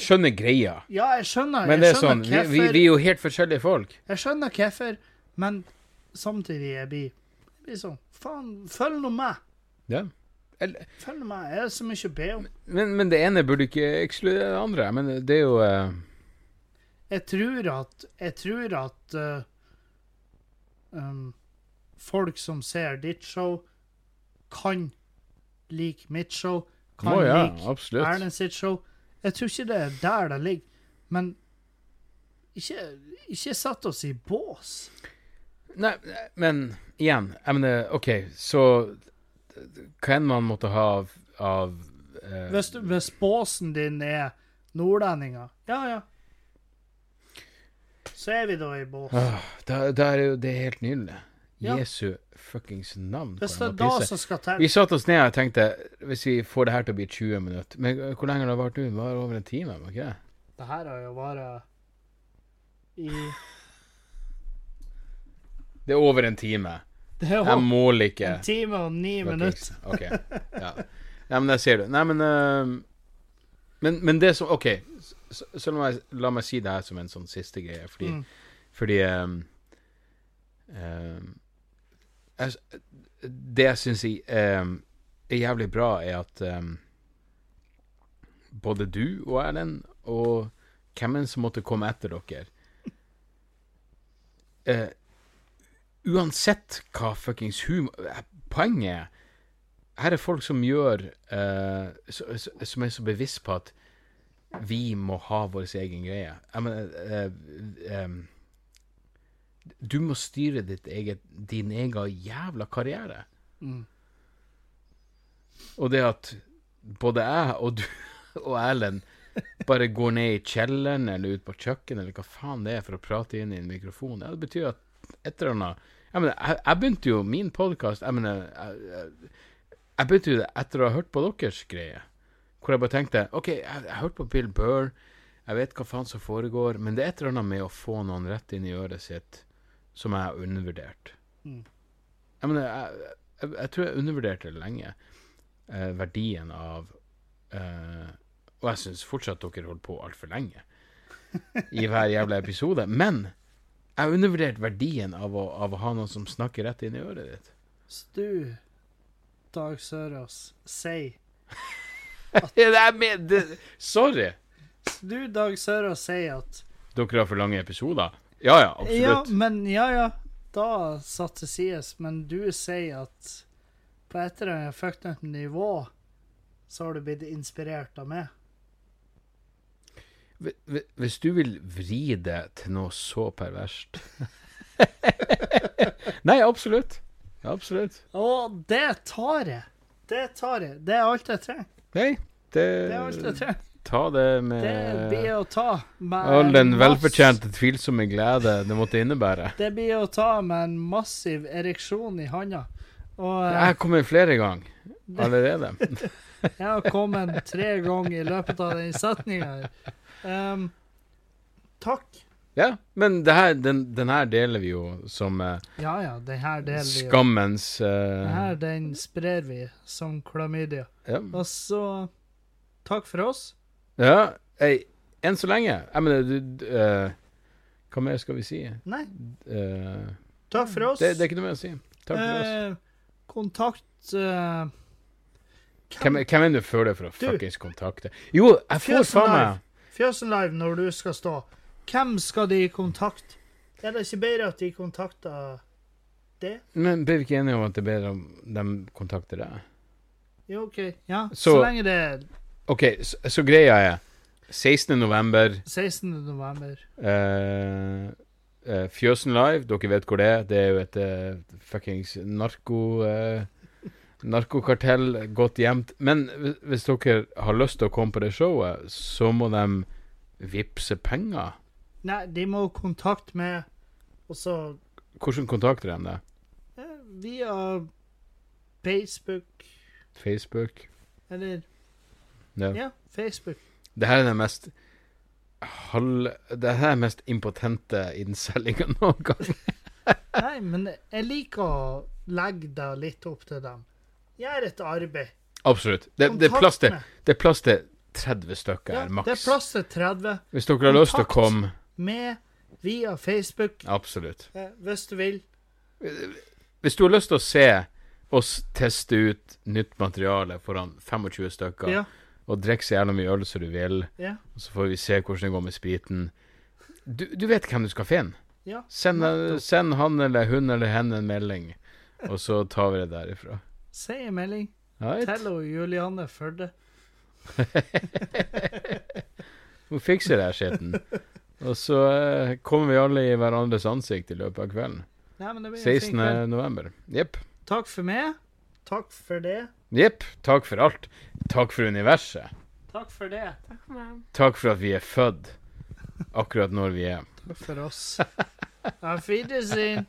Speaker 2: skjønner greia.
Speaker 1: Ja, jeg skjønner.
Speaker 2: Men det
Speaker 1: jeg
Speaker 2: er
Speaker 1: skjønner
Speaker 2: sånn, vi, vi, vi er jo helt forskjellige folk.
Speaker 1: Jeg skjønner hvorfor, men samtidig jeg blir jeg blir sånn Faen, følg nå med.
Speaker 2: Ja. Eller-
Speaker 1: Følg nå med. Jeg har så mye å be om.
Speaker 2: Men, men det ene burde ikke ekskludere det andre. Men det er jo eh,
Speaker 1: jeg tror at Jeg tror at eh, um, folk som ser ditt show, kan like mitt show, kan
Speaker 2: Å ja,
Speaker 1: like
Speaker 2: absolutt.
Speaker 1: Erlend sitt show. Jeg tror ikke det er der det ligger. Men ikke, ikke sett oss i bås.
Speaker 2: Nei, men igjen, jeg mener, OK, så hva enn man måtte ha av, av eh,
Speaker 1: Hvis, du- hvis båsen din er nordlendinger, ja ja. Så er vi da i bås.
Speaker 2: ah, da, da er jo det helt nydelig.
Speaker 1: Ja.
Speaker 2: Jesu fuckings navn.
Speaker 1: Hvis det
Speaker 2: hvor
Speaker 1: er
Speaker 2: jeg
Speaker 1: da
Speaker 2: må pisse.
Speaker 1: som skal til
Speaker 2: Vi satte oss ned og tenkte hvis vi får det her til å bli 20 minutter Men eh, hvor lenge har det vart nå? Det var over en time? var det ikke det?
Speaker 1: Det her har jo vært i
Speaker 2: Det er over en time.
Speaker 1: Det er
Speaker 2: Jeg
Speaker 1: jo
Speaker 2: måler ikke.
Speaker 1: en time og ni minutter.
Speaker 2: Fuckings- Ok. Ja. Nei, men der ser du. Nei, men eh, men, men det som OK, så, så la, meg, la meg si det her som en sånn siste greie, fordi,
Speaker 1: Mm.
Speaker 2: fordi ehm, ehm, jeg, s- Det jeg syns er jævlig bra, er at ehm, både du og Erlend, og hvem enn som måtte komme etter dere eh, Uansett hva fuckings humor Poenget er her er folk som gjør eh, så- så- Som er så bevisst på at vi må ha vår egen greie. Jeg mener eh, em, Du må styre ditt eget, din egen jævla karriere.
Speaker 1: Mm.
Speaker 2: Og det at både jeg og du og Erlend bare går ned i kjelleren eller ut på kjøkkenet eller hva faen det er for å prate inn i en mikrofon, ja, det betyr at et eller annet Jeg mener, jeg, jeg begynte jo min podkast jeg, mener, jeg, jeg, jeg begynte jo det etter å ha hørt på deres greie, hvor jeg bare tenkte OK, jeg, jeg hørte på Bill Burr, jeg vet hva faen som foregår, men det er et eller annet med å få noen rett inn i øret sitt som jeg har undervurdert.
Speaker 1: Mm.
Speaker 2: Jeg mener, jeg, jeg, jeg tror jeg undervurderte det lenge eh, verdien av eh, Og jeg syns fortsatt dere holdt på altfor lenge i hver jævla episode. Men jeg har undervurdert verdien av å, av å ha noen som snakker rett inn i øret ditt.
Speaker 1: Så du, Dag Sørås, sier
Speaker 2: Ja, det er med, det, sorry!
Speaker 1: Så du, Dag Sørås, sier at
Speaker 2: Dere har for lange episoder? Ja ja,
Speaker 1: Ja,
Speaker 2: absolutt.
Speaker 1: men ja, ja. Da satt til sides, men du sier at på et eller annet fucked up nivå så har du blitt inspirert av meg.
Speaker 2: Hvi- hvi- Hvis du vil vri det til noe så perverst Nei, absolutt. Ja, absolutt.
Speaker 1: Og det tar jeg. Det tar jeg. Det er alt jeg trenger.
Speaker 2: Nei,
Speaker 1: Det er alt jeg
Speaker 2: det
Speaker 1: trenger.
Speaker 2: Ta det med
Speaker 1: Det blir å ta med
Speaker 2: Eh. All
Speaker 1: en
Speaker 2: den
Speaker 1: mass-
Speaker 2: velfortjente, tvilsomme glede det måtte innebære.
Speaker 1: Det blir å ta med en massiv ereksjon i handa. Og eh,
Speaker 2: Jeg har kommet flere ganger allerede.
Speaker 1: Jeg har kommet tre ganger i løpet av den setninga. Um, takk.
Speaker 2: Ja, men det her, den, den her deler vi jo som eh,
Speaker 1: Ja ja, den her deler vi. jo.
Speaker 2: skammens
Speaker 1: Den
Speaker 2: eh,
Speaker 1: her den sprer vi som klamydia.
Speaker 2: ja.
Speaker 1: Og så takk for oss.
Speaker 2: ja. ei, enn så lenge. Jeg mener, du, du eh, Hva mer skal vi si?
Speaker 1: Nei,
Speaker 2: Eh,
Speaker 1: takk for oss.
Speaker 2: det, det er ikke noe mer å si. Takk for oss.
Speaker 1: Eh, kontakt eh,
Speaker 2: Hvem, hvem er det du føler for å
Speaker 1: Du.
Speaker 2: fuckings kontakte? Jo, jeg får
Speaker 1: Fjøsen
Speaker 2: faen
Speaker 1: Live.
Speaker 2: meg
Speaker 1: Fjøsen Live når du skal stå. Hvem skal de kontakte? Er det ikke bedre at de kontakter det?
Speaker 2: Men ble vi ikke enige om at det er bedre om de kontakter deg?
Speaker 1: Jo, OK. Ja, så,
Speaker 2: Så-
Speaker 1: lenge det er
Speaker 2: OK, så, så greia er 16. november
Speaker 1: 16. november.
Speaker 2: Eh, eh, Fjøsen Live, dere vet hvor det er. Det er jo et eh, fuckings narko... eh, narkokartell godt gjemt. Men hvi- hvis dere har lyst til å komme på det showet, så må de vippse penger.
Speaker 1: Nei, de må kontakte med Og så
Speaker 2: Hvordan kontakter de det?
Speaker 1: eh, via Facebook
Speaker 2: Facebook?
Speaker 1: Eller
Speaker 2: Ja.
Speaker 1: ja, Facebook.
Speaker 2: Det her er den mest halv... Det her er den mest impotente innselginga noen gang.
Speaker 1: Nei, men jeg liker å legge det litt opp til dem. Gjør et arbeid.
Speaker 2: Absolutt. Det, det, er plass til,
Speaker 1: med-
Speaker 2: det er plass til 30 stykker
Speaker 1: ja,
Speaker 2: her,
Speaker 1: Det er
Speaker 2: maks.
Speaker 1: plass til 30
Speaker 2: Hvis dere har lyst til å
Speaker 1: Kontakt.
Speaker 2: komme
Speaker 1: med via Facebook,
Speaker 2: Absolutt.
Speaker 1: eh, hvis du vil.
Speaker 2: Hvis du har lyst til å se oss teste ut nytt materiale foran 25 stykker,
Speaker 1: Ja,
Speaker 2: og drikke så jævla mye øl som du vil,
Speaker 1: ja.
Speaker 2: og så får vi se hvordan det går med spriten Du, du vet hvem du skal finne.
Speaker 1: Ja,
Speaker 2: Send,
Speaker 1: nettopp.
Speaker 2: send han eller hun eller henne en melding, og så tar vi det derifra.
Speaker 1: Si en melding.
Speaker 2: Right?
Speaker 1: Tell hun Julianne Førde.
Speaker 2: Hun fikser det her skitten. Og så eh, kommer vi alle i hverandres ansikt i løpet av kvelden.
Speaker 1: Nei, men det blir en fin
Speaker 2: 16.
Speaker 1: kveld.
Speaker 2: november. Jepp.
Speaker 1: Takk for meg. Takk for det.
Speaker 2: Jepp. Takk for alt. Takk for universet.
Speaker 1: Takk for det.
Speaker 3: Takk for meg.
Speaker 2: Takk for at vi er født akkurat når vi er.
Speaker 1: Takk for oss. Auf Wiedersehen.